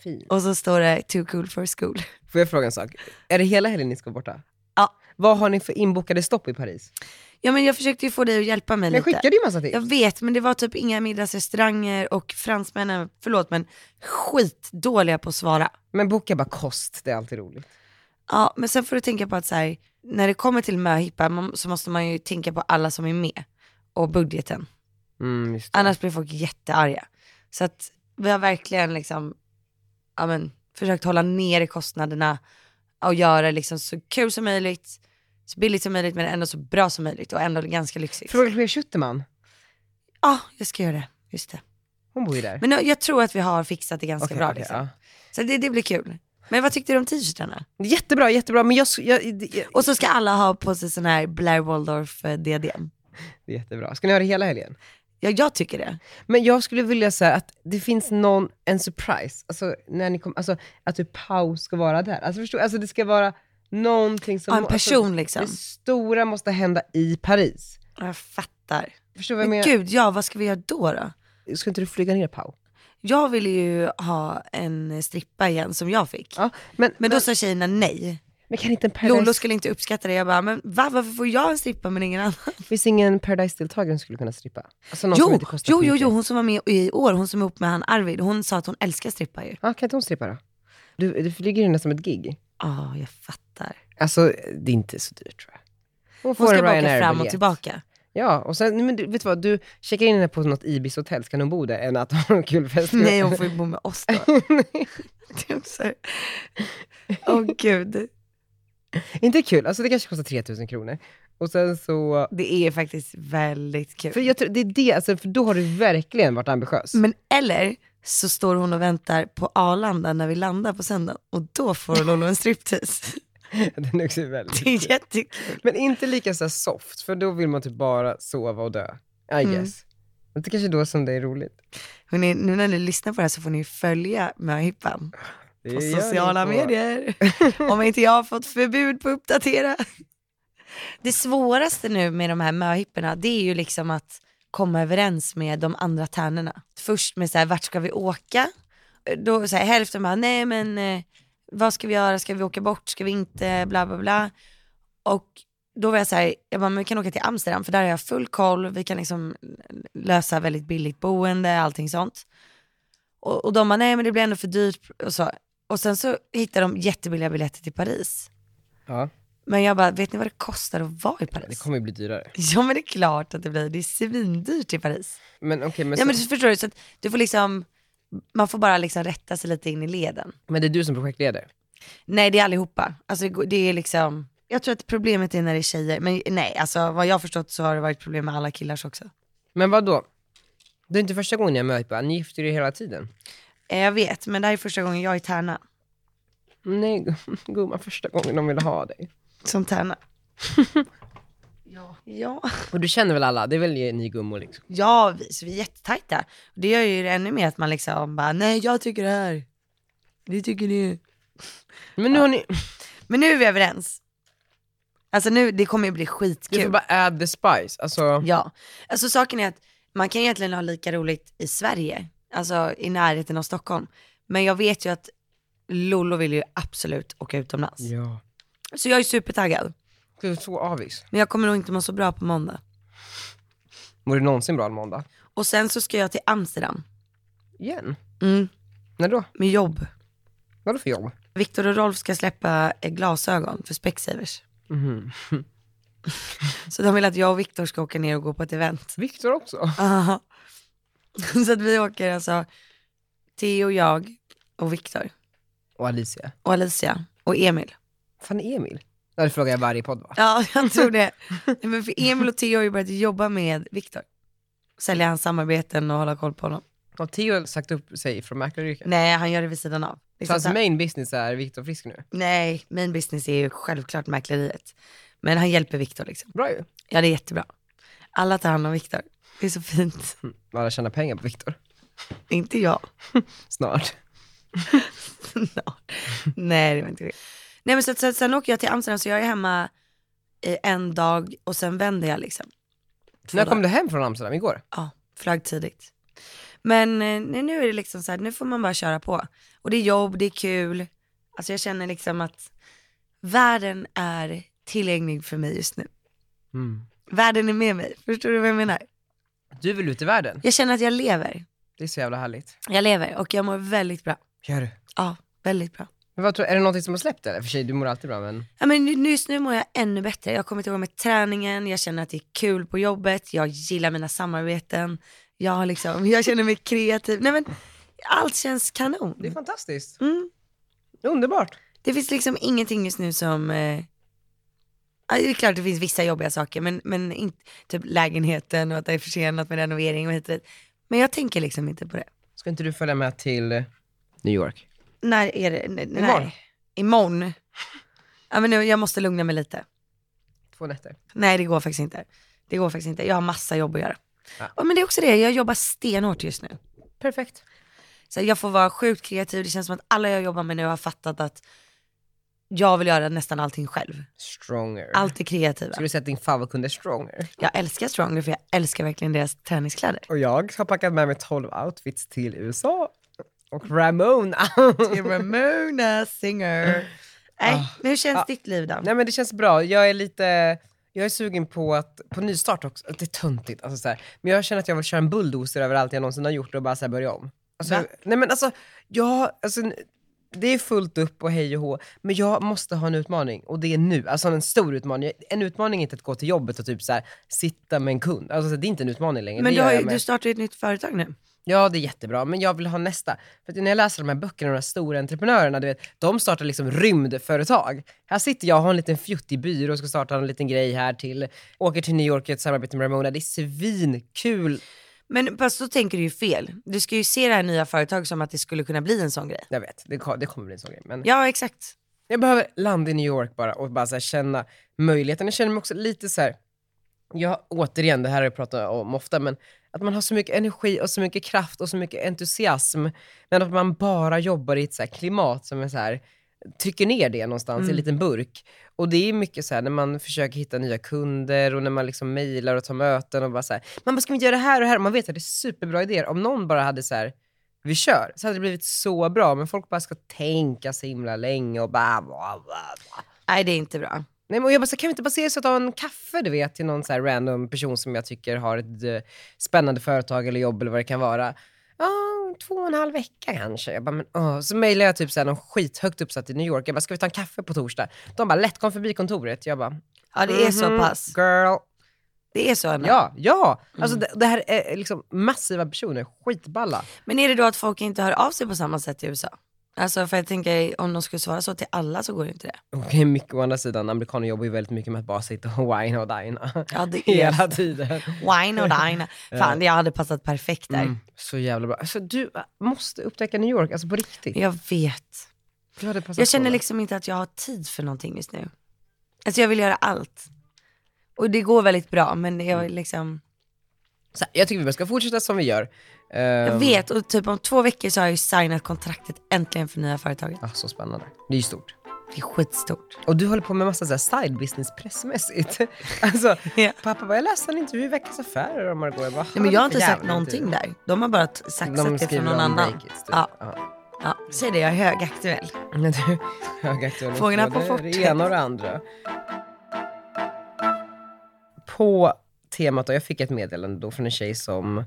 Speaker 4: Fint.
Speaker 5: Och så står det too cool for school.
Speaker 4: Får jag fråga en sak? Är det hela helgen ni ska vara borta?
Speaker 5: Ja.
Speaker 4: Vad har ni för inbokade stopp i Paris?
Speaker 5: Ja men jag försökte ju få dig att hjälpa mig
Speaker 4: Jag
Speaker 5: lite.
Speaker 4: skickade ju massa tips.
Speaker 5: Jag vet men det var typ inga middagsrestauranger och fransmännen, förlåt men skitdåliga på att svara.
Speaker 4: Men boka bara kost, det är alltid roligt.
Speaker 5: Ja, men sen får du tänka på att så här, när det kommer till möhippa man- så måste man ju tänka på alla som är med och budgeten.
Speaker 4: Mm, just det.
Speaker 5: Annars blir folk jättearga. Så att vi har verkligen liksom, ja men, försökt hålla ner kostnaderna och göra liksom så kul som möjligt, så billigt som möjligt men ändå så bra som möjligt och ändå ganska lyxigt.
Speaker 4: Fråga Claire Schuterman,
Speaker 5: Ja, jag ska göra det. Just det.
Speaker 4: hon bor ju där.
Speaker 5: Men nu, jag tror att vi har fixat det ganska
Speaker 4: Okej,
Speaker 5: bra.
Speaker 4: okej,
Speaker 5: liksom. Så det, det blir kul. Men vad tyckte du om t-shirtarna?
Speaker 4: ja. Jättebra, jättebra. Men jag, jag, det- jag,
Speaker 5: Och så ska alla ha på sig sån här Blair eh, Waldorf-diadem.
Speaker 4: det är jättebra. Ska ni ha det hela helgen?
Speaker 5: Ja, jag tycker det.
Speaker 4: Men jag skulle vilja säga att det finns någon, en surprise, alltså, när ni kom, alltså att du paus ska vara där. Alltså, förstår, alltså det ska vara någonting som...
Speaker 5: Ja, en person
Speaker 4: alltså,
Speaker 5: liksom.
Speaker 4: Det stora måste hända i Paris.
Speaker 5: Ja, Jag fattar.
Speaker 4: Förstår du vad jag
Speaker 5: Men
Speaker 4: menar?
Speaker 5: gud, ja, vad ska vi göra då då?
Speaker 4: Ska inte du flyga ner Pau?
Speaker 5: Jag ville ju ha en strippa igen som jag fick.
Speaker 4: Ja, men,
Speaker 5: Men då sa tjejerna nej.
Speaker 4: men kan inte en Paradise...
Speaker 5: Lollo skulle inte uppskatta det. Jag bara, men va, varför får jag en strippa men ingen annan?
Speaker 4: Finns ingen Paradise-deltagare som skulle kunna strippa? Alltså någon som
Speaker 5: Jo,
Speaker 4: inte kostar
Speaker 5: jo,
Speaker 4: för
Speaker 5: jo,
Speaker 4: mycket.
Speaker 5: jo, hon som var med i år, hon som är ihop med han Arvid, hon sa att hon älskar strippa ju.
Speaker 4: Ja, kan inte hon strippa då? Du, du flyger ju nästan som ett gig.
Speaker 5: Ja, jag fattar.
Speaker 4: Alltså, det är inte så dyrt tror jag. Hon
Speaker 5: Hon ska
Speaker 4: en
Speaker 5: bara
Speaker 4: Ryanair
Speaker 5: fram och
Speaker 4: biljett.
Speaker 5: tillbaka.
Speaker 4: Ja, och sen, nej, men du, vet du vad, du checkar in henne på något Ibis-hotell, så kan hon bo där än att ha en kul fest?
Speaker 5: Nej, hon får ju bo med oss då. Det är också- Åh gud.
Speaker 4: inte kul, alltså det kanske kostar 3000 kronor. Och sen så...
Speaker 5: Det är faktiskt väldigt kul.
Speaker 4: För, jag tror, det är det, alltså, för då har du verkligen varit ambitiös.
Speaker 5: Men eller så står hon och väntar på Arlanda när vi landar på söndagen och då får Lollo en striptease.
Speaker 4: Den är också väldigt
Speaker 5: Det är jättekul.
Speaker 4: Men inte lika så här soft, för då vill man typ bara sova och dö. I
Speaker 5: Mm.
Speaker 4: guess. Men det kanske är då som det är roligt.
Speaker 5: Hörrni, nu när ni lyssnar på det här så får ni följa möhippan
Speaker 4: Det
Speaker 5: på
Speaker 4: gör ni
Speaker 5: sociala
Speaker 4: på-
Speaker 5: medier. Om inte jag har fått förbud på att uppdatera. Det svåraste nu med de här möhipporna det är ju liksom att komma överens med de andra tärnorna. Först med så här, vart ska vi åka? Då så här, hälften bara, nej men eh, vad ska vi göra? Ska vi åka bort? Ska vi inte? Bla bla bla. Och då var jag så här, jag bara, men vi kan åka till Amsterdam för där har jag full koll, vi kan liksom lösa väldigt billigt boende, allting sånt. Och, och de bara, nej men det blir ändå för dyrt och så. Och sen så hittade de jättebilliga biljetter till Paris.
Speaker 4: Ja,
Speaker 5: Men jag bara, vet ni vad det kostar att vara i Paris?
Speaker 4: det kommer ju bli dyrare.
Speaker 5: Ja men det är klart att det blir, det är svindyrt i Paris.
Speaker 4: Men okej, men,
Speaker 5: ja men
Speaker 4: så-
Speaker 5: du förstår du, så att du får liksom, man får bara liksom rätta sig lite in i leden.
Speaker 4: men det är du som projektleder.
Speaker 5: Nej det är allihopa, alltså det, går- det är liksom, jag tror att problemet är när det är tjejer, men nej alltså vad jag har förstått så har det varit problem med alla killars också.
Speaker 4: Men vad då? Det är inte första gången jag möter på, ni gifter er hela tiden.
Speaker 5: Eh, Jag vet, men det här är första gången jag är tärna.
Speaker 4: Nej, gumman, första gången de vill ha dig.
Speaker 5: Som tärna. ja. Ja,
Speaker 4: Och du känner väl alla? Det är väl ni gummor liksom?
Speaker 5: ja vi, så vi är jättetajta. Det gör ju det ännu mer att man liksom bara, nej jag tycker det här. Det tycker ni.
Speaker 4: Men nu har ni,
Speaker 5: Men nu är vi överens. Alltså nu, det kommer ju bli
Speaker 4: du får
Speaker 5: skitkul.
Speaker 4: bara add the spice. Alltså,
Speaker 5: Ja, alltså saken är att man kan egentligen ha lika roligt i Sverige, alltså i närheten av Stockholm. Men jag vet ju att Lollo vill ju absolut åka utomlands.
Speaker 4: ja.
Speaker 5: Så jag är supertaggad.
Speaker 4: Gud, så avis.
Speaker 5: Men jag kommer nog inte må så bra på måndag.
Speaker 4: Mår du någonsin bra en måndag?
Speaker 5: Och sen så ska jag till Amsterdam.
Speaker 4: Igen?
Speaker 5: Mm,
Speaker 4: När då?
Speaker 5: med jobb.
Speaker 4: Vadå för jobb?
Speaker 5: Viktor och Rolf ska släppa eh, glasögon för Specsavers.
Speaker 4: Mhm.
Speaker 5: Mm-hmm. Så de vill att jag och Viktor ska åka ner och gå på ett event.
Speaker 4: Viktor också?
Speaker 5: Aha. Så att vi åker alltså, Theo, jag och Viktor
Speaker 4: Och Alicia.
Speaker 5: och Alicia och Emil.
Speaker 4: Fan Emil? Ja, Det frågar jag varje podd va?
Speaker 5: Ja, jag tror det. Nej, Men för Emil och Theo har ju börjat jobba med Viktor. Sälja hans samarbeten och hålla koll på honom.
Speaker 4: Har Theo sagt upp sig från mäklaryrket?
Speaker 5: Nej, han gör det vid sidan av.
Speaker 4: Så
Speaker 5: Liksom
Speaker 4: hans
Speaker 5: så här-
Speaker 4: main business är Viktor Frisk nu?
Speaker 5: Nej, min business är ju självklart mäkleriet. Men han hjälper Viktor liksom.
Speaker 4: Bra ju.
Speaker 5: Ja, det är jättebra. Alla tar hand om Viktor. Det är så fint.
Speaker 4: Bara tjäna pengar på Viktor.
Speaker 5: Inte jag.
Speaker 4: Snart.
Speaker 5: Nej, det var inte det. Nej, men så, så, sen åker jag till Amsterdam, så jag är hemma eh, en dag och sen vänder jag liksom.
Speaker 4: När kom du hem från Amsterdam? Igår?
Speaker 5: Ja, flagg tidigt. Men eh, nej, nu är det liksom så här, nu får man bara köra på. Och det är jobb, det är kul. Alltså jag känner liksom att världen är tillgänglig för mig just nu.
Speaker 4: Mm.
Speaker 5: Världen är med mig, förstår du vad jag menar?
Speaker 4: Du vill ut i världen.
Speaker 5: Jag känner att jag lever.
Speaker 4: Det är så jävla härligt.
Speaker 5: Jag lever och jag mår väldigt bra.
Speaker 4: Gör du?
Speaker 5: Ja, väldigt bra.
Speaker 4: Men vad tror, är det någonting som har släppt eller? För sig, du mår alltid bra men...
Speaker 5: Ja, men nu- just nu mår jag ännu bättre. Jag har kommit igång med träningen, jag känner att det är kul på jobbet, jag gillar mina samarbeten, jag, har liksom, jag känner mig kreativ. Nej, men allt känns
Speaker 4: Det är
Speaker 5: kanon.
Speaker 4: fantastiskt.
Speaker 5: Mm.
Speaker 4: Underbart.
Speaker 5: Det finns liksom ingenting just nu som... Eh, ja, det är klart det finns vissa jobbiga saker, men, men inte, typ lägenheten och att det är försenat med renovering och hit och dit. Men jag tänker liksom inte på det.
Speaker 4: Ska inte du följa med till eh, New York?
Speaker 5: När är det? Nej.
Speaker 4: Imorgon.
Speaker 5: Imorgon. Ja, men nu, jag måste lugna mig lite.
Speaker 4: Två nätter.
Speaker 5: Nej det går faktiskt inte. Det går faktiskt inte. Jag har massa jobb att göra.
Speaker 4: Ja.
Speaker 5: Och, men det är också det, jag jobbar stenhårt just nu.
Speaker 4: Perfekt.
Speaker 5: Så jag får vara sjukt kreativ, det känns som att alla jag jobbar med nu har fattat att jag vill göra nästan allting själv.
Speaker 4: Stronger.
Speaker 5: Allt är kreativa.
Speaker 4: Skulle du säga att din favvokkund är stronger?
Speaker 5: Jag älskar Stronger för jag älskar verkligen deras träningskläder.
Speaker 4: Och jag har packat med mig 12 outfits till USA. Och Ramona.
Speaker 5: Ramona Singer. Nej, men hur känns ditt liv då?
Speaker 4: Ah. Nej men det känns bra. Jag är lite, jag är sugen på att, på nystart också. Det är töntigt. Alltså, så här. Men jag känner att jag vill köra en bulldozer över allt jag någonsin har gjort och bara så här, börja om. Alltså,
Speaker 5: Va?
Speaker 4: nej men alltså, jag, alltså, det är fullt upp och hej och hå, men jag måste ha en utmaning och det är nu. Alltså en stor utmaning. En utmaning är inte att gå till jobbet och typ så här, sitta med en kund. Alltså, det är inte en utmaning längre.
Speaker 5: men
Speaker 4: det
Speaker 5: du, har
Speaker 4: gör
Speaker 5: ju,
Speaker 4: jag med-
Speaker 5: du startar ju ett nytt företag nu.
Speaker 4: Ja, det är jättebra, men jag vill ha nästa. För att när jag läser de här böckerna, de här stora entreprenörerna, du vet, de startar liksom rymdföretag. Här sitter jag och har en liten fjuttig byrå och ska starta en liten grej här till, åker till New York i ett samarbete med Ramona. Det är svinkul.
Speaker 5: Men fast då tänker du ju fel. Du ska ju se det här nya företaget som att det skulle kunna bli en sån grej.
Speaker 4: Jag vet, det, ko- det kommer bli en sån grej. Men
Speaker 5: Ja, exakt.
Speaker 4: jag behöver landa i New York bara och bara så här känna möjligheten. Jag känner mig också lite så här, jag, återigen, det här har jag pratat om ofta, men att man har så mycket energi och så mycket kraft och så mycket entusiasm, men att man bara jobbar i ett så här klimat som är så här, trycker ner det någonstans i en
Speaker 12: Mm.
Speaker 4: liten burk. Och det är mycket så här när man försöker hitta nya kunder och när man liksom mejlar och tar möten och bara så här, man bara, ska vi inte göra det här och det här? Och man vet att det är superbra idéer. Om någon bara hade så här, vi kör, så hade det blivit så bra. Men folk bara ska tänka så himla länge och bara... Bla, bla, bla.
Speaker 5: Nej, det är inte bra.
Speaker 4: Nej, men och jag bara, så kan vi inte bara ses och ta en kaffe du vet, till någon så här random person som jag tycker har ett eh, spännande företag eller jobb eller vad det kan vara. Ja, två och en halv vecka kanske. Jag bara, men, åh. Så mejlar jag typ så här, någon skithögt uppsatt i New York. Jag bara, ska vi ta en kaffe på torsdag? De bara, lätt kom förbi kontoret. Jag bara,
Speaker 5: Ja, det är så
Speaker 4: mhm,
Speaker 5: pass.
Speaker 4: Girl.
Speaker 5: Det är så Anna.
Speaker 4: Ja, ja. Alltså det, det här är liksom massiva personer, skitballa.
Speaker 5: Men är det då att folk inte hör av sig på samma sätt i USA? Alltså för jag tänker om de skulle svara så till alla så går det inte det.
Speaker 4: Okej, mycket å andra sidan, amerikaner jobbar ju väldigt mycket med att bara sitta och wine och dina.
Speaker 5: Ja, det är
Speaker 4: Hela
Speaker 5: så.
Speaker 4: tiden.
Speaker 5: Wine och dine. Fan, jag hade passat perfekt där.
Speaker 4: Mm, så jävla bra. Alltså, du måste upptäcka New York, alltså på riktigt.
Speaker 5: Jag vet.
Speaker 4: Du hade passat
Speaker 5: Jag känner
Speaker 4: på det.
Speaker 5: liksom inte att jag har tid för någonting just nu. Alltså jag vill göra allt. Och det går väldigt bra, men jag
Speaker 4: Mm.
Speaker 5: är liksom...
Speaker 4: Så här, jag tycker vi bara ska fortsätta som vi gör. Ehm,
Speaker 5: Jag vet, och typ om två veckor så har jag ju signat kontraktet äntligen för nya företaget.
Speaker 4: Ah, så spännande. Det är ju stort.
Speaker 5: Det är skitstort.
Speaker 4: Och du håller på med massa så här side business pressmässigt. alltså, pappa bara, jag läste en intervju i Veckans Affärer om Margot. Jag bara,
Speaker 5: Nej, men jag har
Speaker 4: "Ha, det
Speaker 5: inte
Speaker 4: är
Speaker 5: sagt
Speaker 4: för jävla
Speaker 5: någonting
Speaker 4: intervju."
Speaker 5: där. De har bara t- saxat
Speaker 4: De
Speaker 5: det från
Speaker 4: skriver
Speaker 5: någon
Speaker 4: om
Speaker 5: annan.
Speaker 4: Breakit, typ.
Speaker 5: ja. Ja. Säg det, jag är högaktuell.
Speaker 4: Men du, högaktuell hos
Speaker 5: Fångarna på
Speaker 4: både
Speaker 5: fortet.
Speaker 4: det ena och det andra. På temat, och jag fick ett meddelande då från en tjej som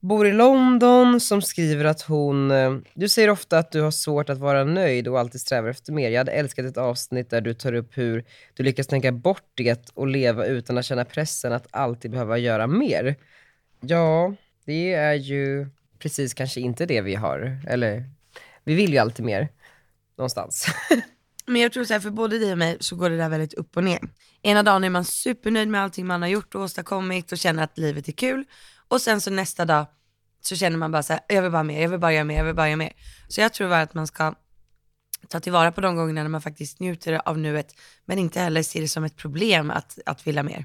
Speaker 4: bor i London, som skriver att hon, eh, du säger ofta att du har svårt att vara nöjd och alltid strävar efter mer. Jag hade älskat ett avsnitt där du tar upp hur du lyckas tänka bort det och leva utan att känna pressen att alltid behöva göra mer. Ja, det är ju precis kanske inte det vi har. Eller, vi vill ju alltid mer. Någonstans.
Speaker 5: Men jag tror så här, för både dig och mig så går det där väldigt upp och ner. Ena dagen är man supernöjd med allting man har gjort och åstadkommit och känner att livet är kul. Och sen så nästa dag så känner man bara så här, jag vill bara mer, jag vill bara göra mer, jag vill bara göra mer. Så jag tror bara att man ska ta tillvara på de gångerna när man faktiskt njuter av nuet, men inte heller se det som ett problem att, att vilja mer.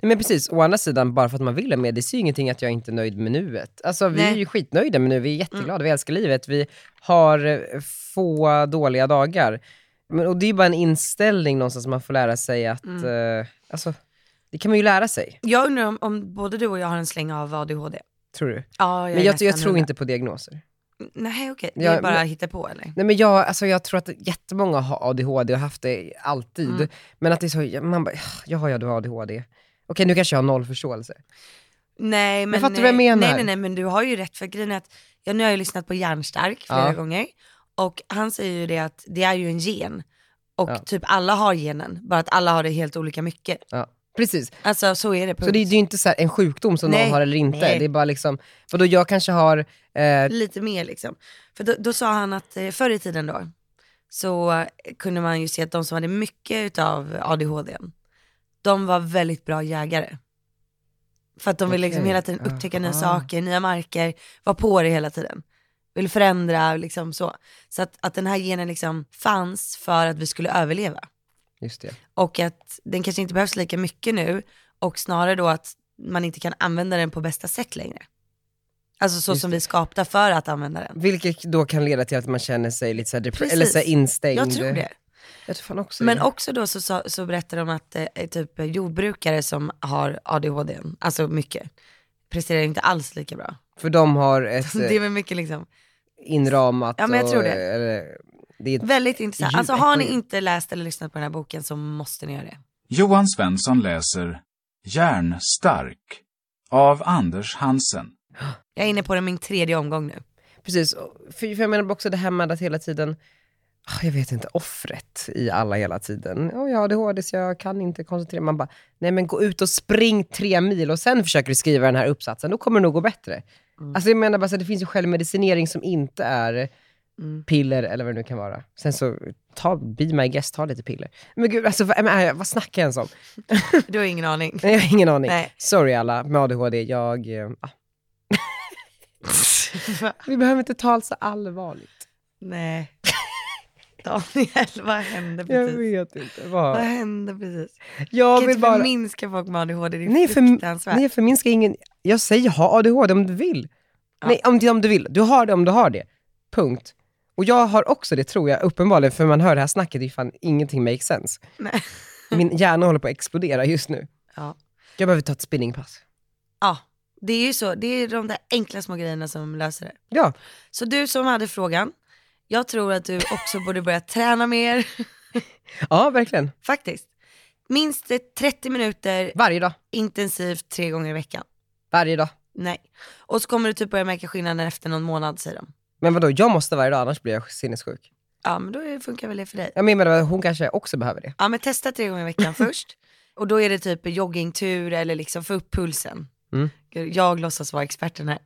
Speaker 4: Nej, men precis, å andra sidan, bara för att man vill ha med, det är ju ingenting att jag inte är nöjd med nuet. Alltså vi
Speaker 5: Nej. Mm.
Speaker 4: är ju skitnöjda med nu, vi är jätteglada, vi älskar livet, vi har eh, få dåliga dagar. Men, och det är ju bara en inställning någonstans man får lära sig att,
Speaker 5: Mm.
Speaker 4: eh, alltså, det kan man ju lära sig,
Speaker 5: Jag undrar om, om både du och jag har en släng av ADHD.
Speaker 4: tror du.
Speaker 5: Ja, jag är
Speaker 4: men jag, jag
Speaker 5: nästan
Speaker 4: tror
Speaker 5: hundra.
Speaker 4: inte på diagnoser.
Speaker 5: Nej okej, det
Speaker 4: Ja,
Speaker 5: är bara
Speaker 4: men-
Speaker 5: hitta på eller?
Speaker 4: Nej, men jag, alltså, jag tror att jättemånga har ADHD och haft det alltid.
Speaker 5: Mm.
Speaker 4: Men att det är så, man bara, jag har ju ADHD. Okej, nu kanske jag har noll förståelse.
Speaker 5: Nej men,
Speaker 4: fattar du vad jag
Speaker 5: eh,
Speaker 4: menar?
Speaker 5: Nej, nej nej men du har ju rätt för grejen är att, ja, nu har jag lyssnat på Järnstark flera
Speaker 4: Ja.
Speaker 5: gånger och han säger ju det att det är ju en gen och
Speaker 4: Ja.
Speaker 5: typ alla har genen, bara att alla har det helt olika mycket.
Speaker 4: Ja. Precis.
Speaker 5: Alltså så är det.
Speaker 4: Så det är
Speaker 5: punkt.
Speaker 4: ju inte så här en sjukdom som
Speaker 5: Nej.
Speaker 4: någon har eller inte.
Speaker 5: Nej.
Speaker 4: Det är bara liksom, vadå jag kanske har... Eh,
Speaker 5: lite mer liksom. För då, då sa han att eh, förr i tiden då, så eh, kunde man ju se att de som hade mycket utav ADHD, de var väldigt bra jägare. För att de ville liksom
Speaker 4: Okej,
Speaker 5: hela tiden upptäcka nya
Speaker 4: aha.
Speaker 5: saker, nya marker, vara på det hela tiden. Vill förändra, liksom så. Så att, att den här genen liksom fanns för att vi skulle överleva.
Speaker 4: just det.
Speaker 5: Och att den kanske inte behövs lika mycket nu och snarare då att man inte kan använda den på bästa sätt längre. Alltså så
Speaker 4: Just
Speaker 5: som vi är skapta för att använda den.
Speaker 4: Vilket då kan leda till att man känner sig lite så här depre-
Speaker 5: Precis.
Speaker 4: eller så här instängd. Mm.
Speaker 5: Jag tror det.
Speaker 4: Jag tror fan också
Speaker 5: Men
Speaker 4: det.
Speaker 5: också då så, sa- så berättar de att eh, typ jordbrukare som har ADHD, alltså mycket, presterar inte alls lika bra.
Speaker 4: För de har ett
Speaker 5: Så det är väl mycket liksom,
Speaker 4: eh, inramat
Speaker 5: Ja, men jag
Speaker 4: och,
Speaker 5: tror det.
Speaker 4: eh, Eller, det är ett-
Speaker 5: väldigt intressant.
Speaker 4: djup
Speaker 5: Alltså har ni
Speaker 4: ekologi.
Speaker 5: inte läst eller lyssnat på den här boken så måste ni göra det.
Speaker 13: Johan Svensson läser Järnstark av Anders Hansen.
Speaker 5: Jag är inne på den min tredje omgång nu.
Speaker 4: Precis, Och för, för jag menar också det här med att hela tiden ah, jag vet inte, offret i alla hela tiden. Oh, jag har ADHD så jag kan inte koncentrera mig. Man bara, nej men gå ut och spring tre mil och sen försöker du skriva den här uppsatsen, då kommer det nog gå bättre. Alltså jag menar bara, så här, det finns ju självmedicinering som inte är piller eller vad det nu kan vara. Sen så, ta, be my guest, ta lite piller. Men gud, alltså, vad, men, äh, vad snackar jag ens om?
Speaker 5: Du har ingen aning.
Speaker 4: Nej, jag har ingen aning.
Speaker 5: Nej.
Speaker 4: Sorry alla med ADHD, jag... eh, Ah. Vi behöver inte ta allt så allvarligt.
Speaker 5: Nej. Daniel, vad hände precis?
Speaker 4: Jag vet inte.
Speaker 5: Vad
Speaker 4: Vad...
Speaker 5: hände precis?
Speaker 4: Jag
Speaker 5: kan
Speaker 4: vill
Speaker 5: inte
Speaker 4: bara...
Speaker 5: förminska folk med ADHD, det är
Speaker 4: Nej, för,
Speaker 5: fruktansvärt.
Speaker 4: nej, förminska ingen. Jag säger ha ADHD om du vill. Nej, om, det- om du vill. Du har det om du har det. Punkt. Och jag har också det tror jag, uppenbarligen, för man hör det här snacket, det är fan ingenting makes sense.
Speaker 5: Nej.
Speaker 4: Min hjärna håller på att explodera just nu.
Speaker 5: Ja.
Speaker 4: Jag behöver ta ett spinningpass.
Speaker 5: Ja, det är ju så. Det är de där enkla små grejerna som löser det.
Speaker 4: Ja.
Speaker 5: Så du som hade frågan, jag tror att du också borde börja träna mer.
Speaker 4: Ja, verkligen.
Speaker 5: Faktiskt. Minst 30 minuter
Speaker 4: varje dag.
Speaker 5: intensivt tre gånger i veckan.
Speaker 4: Varje dag.
Speaker 5: Nej. Och så kommer du typ börja märka skillnaden efter någon månad säger de.
Speaker 4: Men vadå, jag måste varje dag, annars blir jag sinnessjuk.
Speaker 5: Ja men då är- funkar väl det för dig.
Speaker 4: Jag menar, hon kanske också behöver det.
Speaker 5: Ja men testa tre gånger i veckan först. Och då är det typ joggingtur eller liksom få upp pulsen.
Speaker 4: Mm.
Speaker 5: Gud, Jag låtsas vara experten här.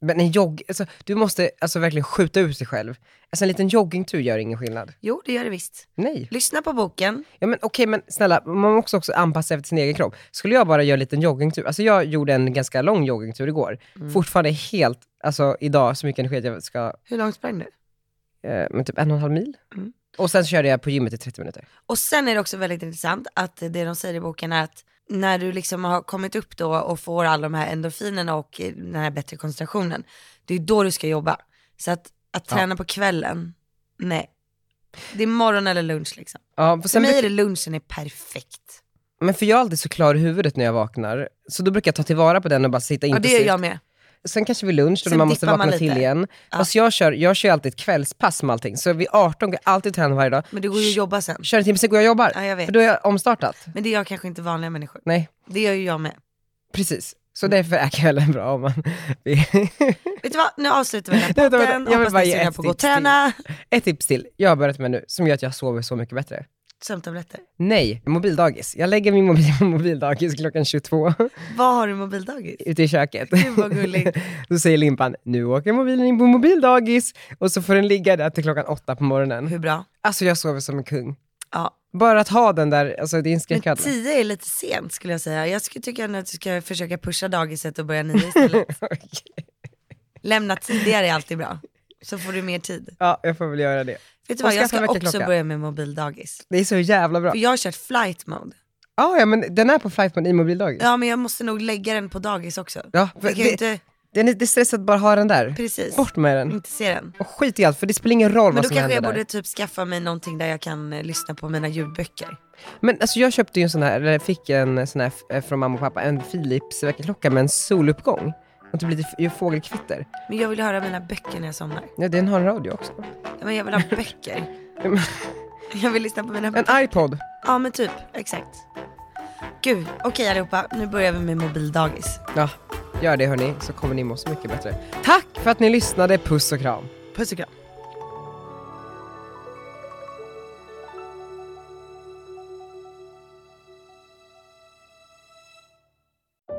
Speaker 4: Men en jogg, alltså, du måste alltså, verkligen skjuta ut sig själv. Alltså, en liten joggingtur gör ingen skillnad.
Speaker 5: Jo det gör det visst.
Speaker 4: Nej.
Speaker 5: Lyssna på boken.
Speaker 4: Ja, men, okej, men snälla, man måste också anpassa sig efter sin egen kropp. Skulle jag bara göra en liten joggingtur, alltså jag gjorde en ganska lång joggingtur igår.
Speaker 5: Mm.
Speaker 4: Fortfarande helt, alltså idag, så mycket energi att jag ska,
Speaker 5: Hur långt sprang du?
Speaker 4: eh, men typ en och en halv mil.
Speaker 5: Mm.
Speaker 4: Och sen körde jag på gymmet i 30 minuter.
Speaker 5: Och sen är det också väldigt intressant att det de säger i boken är att när du liksom har kommit upp då och får alla de här endorfinerna och eh, den här bättre koncentrationen, det är då du ska jobba. Så att, att
Speaker 4: Ja.
Speaker 5: träna på kvällen, nej. Det är morgon eller lunch liksom.
Speaker 4: Ja, och
Speaker 5: För
Speaker 4: sen
Speaker 5: mig
Speaker 4: brukar-
Speaker 5: är det lunchen är perfekt.
Speaker 4: Men för jag är alltid så klar i huvudet när jag vaknar, så då brukar jag ta tillvara på den och bara sitta
Speaker 5: Ja, det
Speaker 4: intensivt.
Speaker 5: gör jag med.
Speaker 4: Sen kanske vid lunch, då
Speaker 5: Sen
Speaker 4: man måste
Speaker 5: dippar
Speaker 4: vakna
Speaker 5: man
Speaker 4: till
Speaker 5: lite.
Speaker 4: igen. Fast jag kör, jag kör ju alltid ett kvällspass med allting, så vid 18 går jag alltid och tränar varje dag.
Speaker 5: Men du går ju och jobbar sen.
Speaker 4: Kör en timme, sen går jag och jobbar.
Speaker 5: Ja, jag vet.
Speaker 4: För då är jag omstartat.
Speaker 5: Men det gör kanske inte vanliga människor.
Speaker 4: Nej,
Speaker 5: Det gör ju jag med.
Speaker 4: precis. Så
Speaker 5: Mm.
Speaker 4: därför är kvällen bra om man vill.
Speaker 5: Vet du vad, nu avslutar vi den här
Speaker 4: Vänta, vänta.
Speaker 5: podden. Hoppas ni sugen på att gå och träna.
Speaker 4: till. Ett tips till, jag har börjat med nu, som gör att jag sover så mycket bättre.
Speaker 5: Sömntabletter.
Speaker 4: Nej, mobildagis. Jag lägger min mobil på mobildagis klockan 22
Speaker 5: Vad har du i mobildagis?
Speaker 4: ute i köket.
Speaker 5: Gud vad gulligt.
Speaker 4: Då säger Limpan, nu åker mobilen in på mobildagis och så får den ligga där till klockan åtta på morgonen.
Speaker 5: Hur bra?
Speaker 4: Alltså jag sover som en kung.
Speaker 5: Ja.
Speaker 4: Bara att ha den där, alltså det är en
Speaker 5: Men
Speaker 4: skräcködla.
Speaker 5: tio är lite sent skulle jag säga. Jag skulle tycka att du ska försöka pusha dagiset och börja nio istället. Lämna tidigare är alltid bra. Så får du mer tid.
Speaker 4: Ja, jag får väl göra det.
Speaker 5: Vet du
Speaker 4: Och
Speaker 5: vad, jag
Speaker 4: skaffa en
Speaker 5: ska också
Speaker 4: väckarklocka.
Speaker 5: börja med mobildagis.
Speaker 4: Det är så jävla bra.
Speaker 5: För jag har kört flight mode.
Speaker 4: Ja, ja, men den är på flight mode i mobildagis.
Speaker 5: Ja men jag måste nog lägga den på dagis också.
Speaker 4: Ja,
Speaker 5: Jag kan ju inte
Speaker 4: det, det är stressigt att bara ha den där.
Speaker 5: Precis.
Speaker 4: Bort med den.
Speaker 5: inte se den.
Speaker 4: Och skit i allt, för det spelar ingen roll
Speaker 5: Men
Speaker 4: vad
Speaker 5: då
Speaker 4: som
Speaker 5: kanske
Speaker 4: händer
Speaker 5: jag borde
Speaker 4: där.
Speaker 5: typ skaffa mig någonting där jag kan eh, lyssna på mina ljudböcker.
Speaker 4: Men alltså jag köpte ju en sån här, eller fick en sån här eh, från mamma och pappa, en Philips väckarklocka med en soluppgång. Och typ lite f- fågelkvitter.
Speaker 5: Men jag vill höra mina böcker när jag somnar.
Speaker 4: Ja, den har en radio också.
Speaker 5: Ja, Men jag vill ha böcker. Jag vill lyssna på mina böcker.
Speaker 4: En iPod.
Speaker 5: Ja men typ, exakt. Gud, okej allihopa, nu börjar vi med mobildagis.
Speaker 4: Ja, gör det hörni, så kommer ni må så mycket bättre. Tack för att ni lyssnade, puss och kram.
Speaker 5: Puss och kram.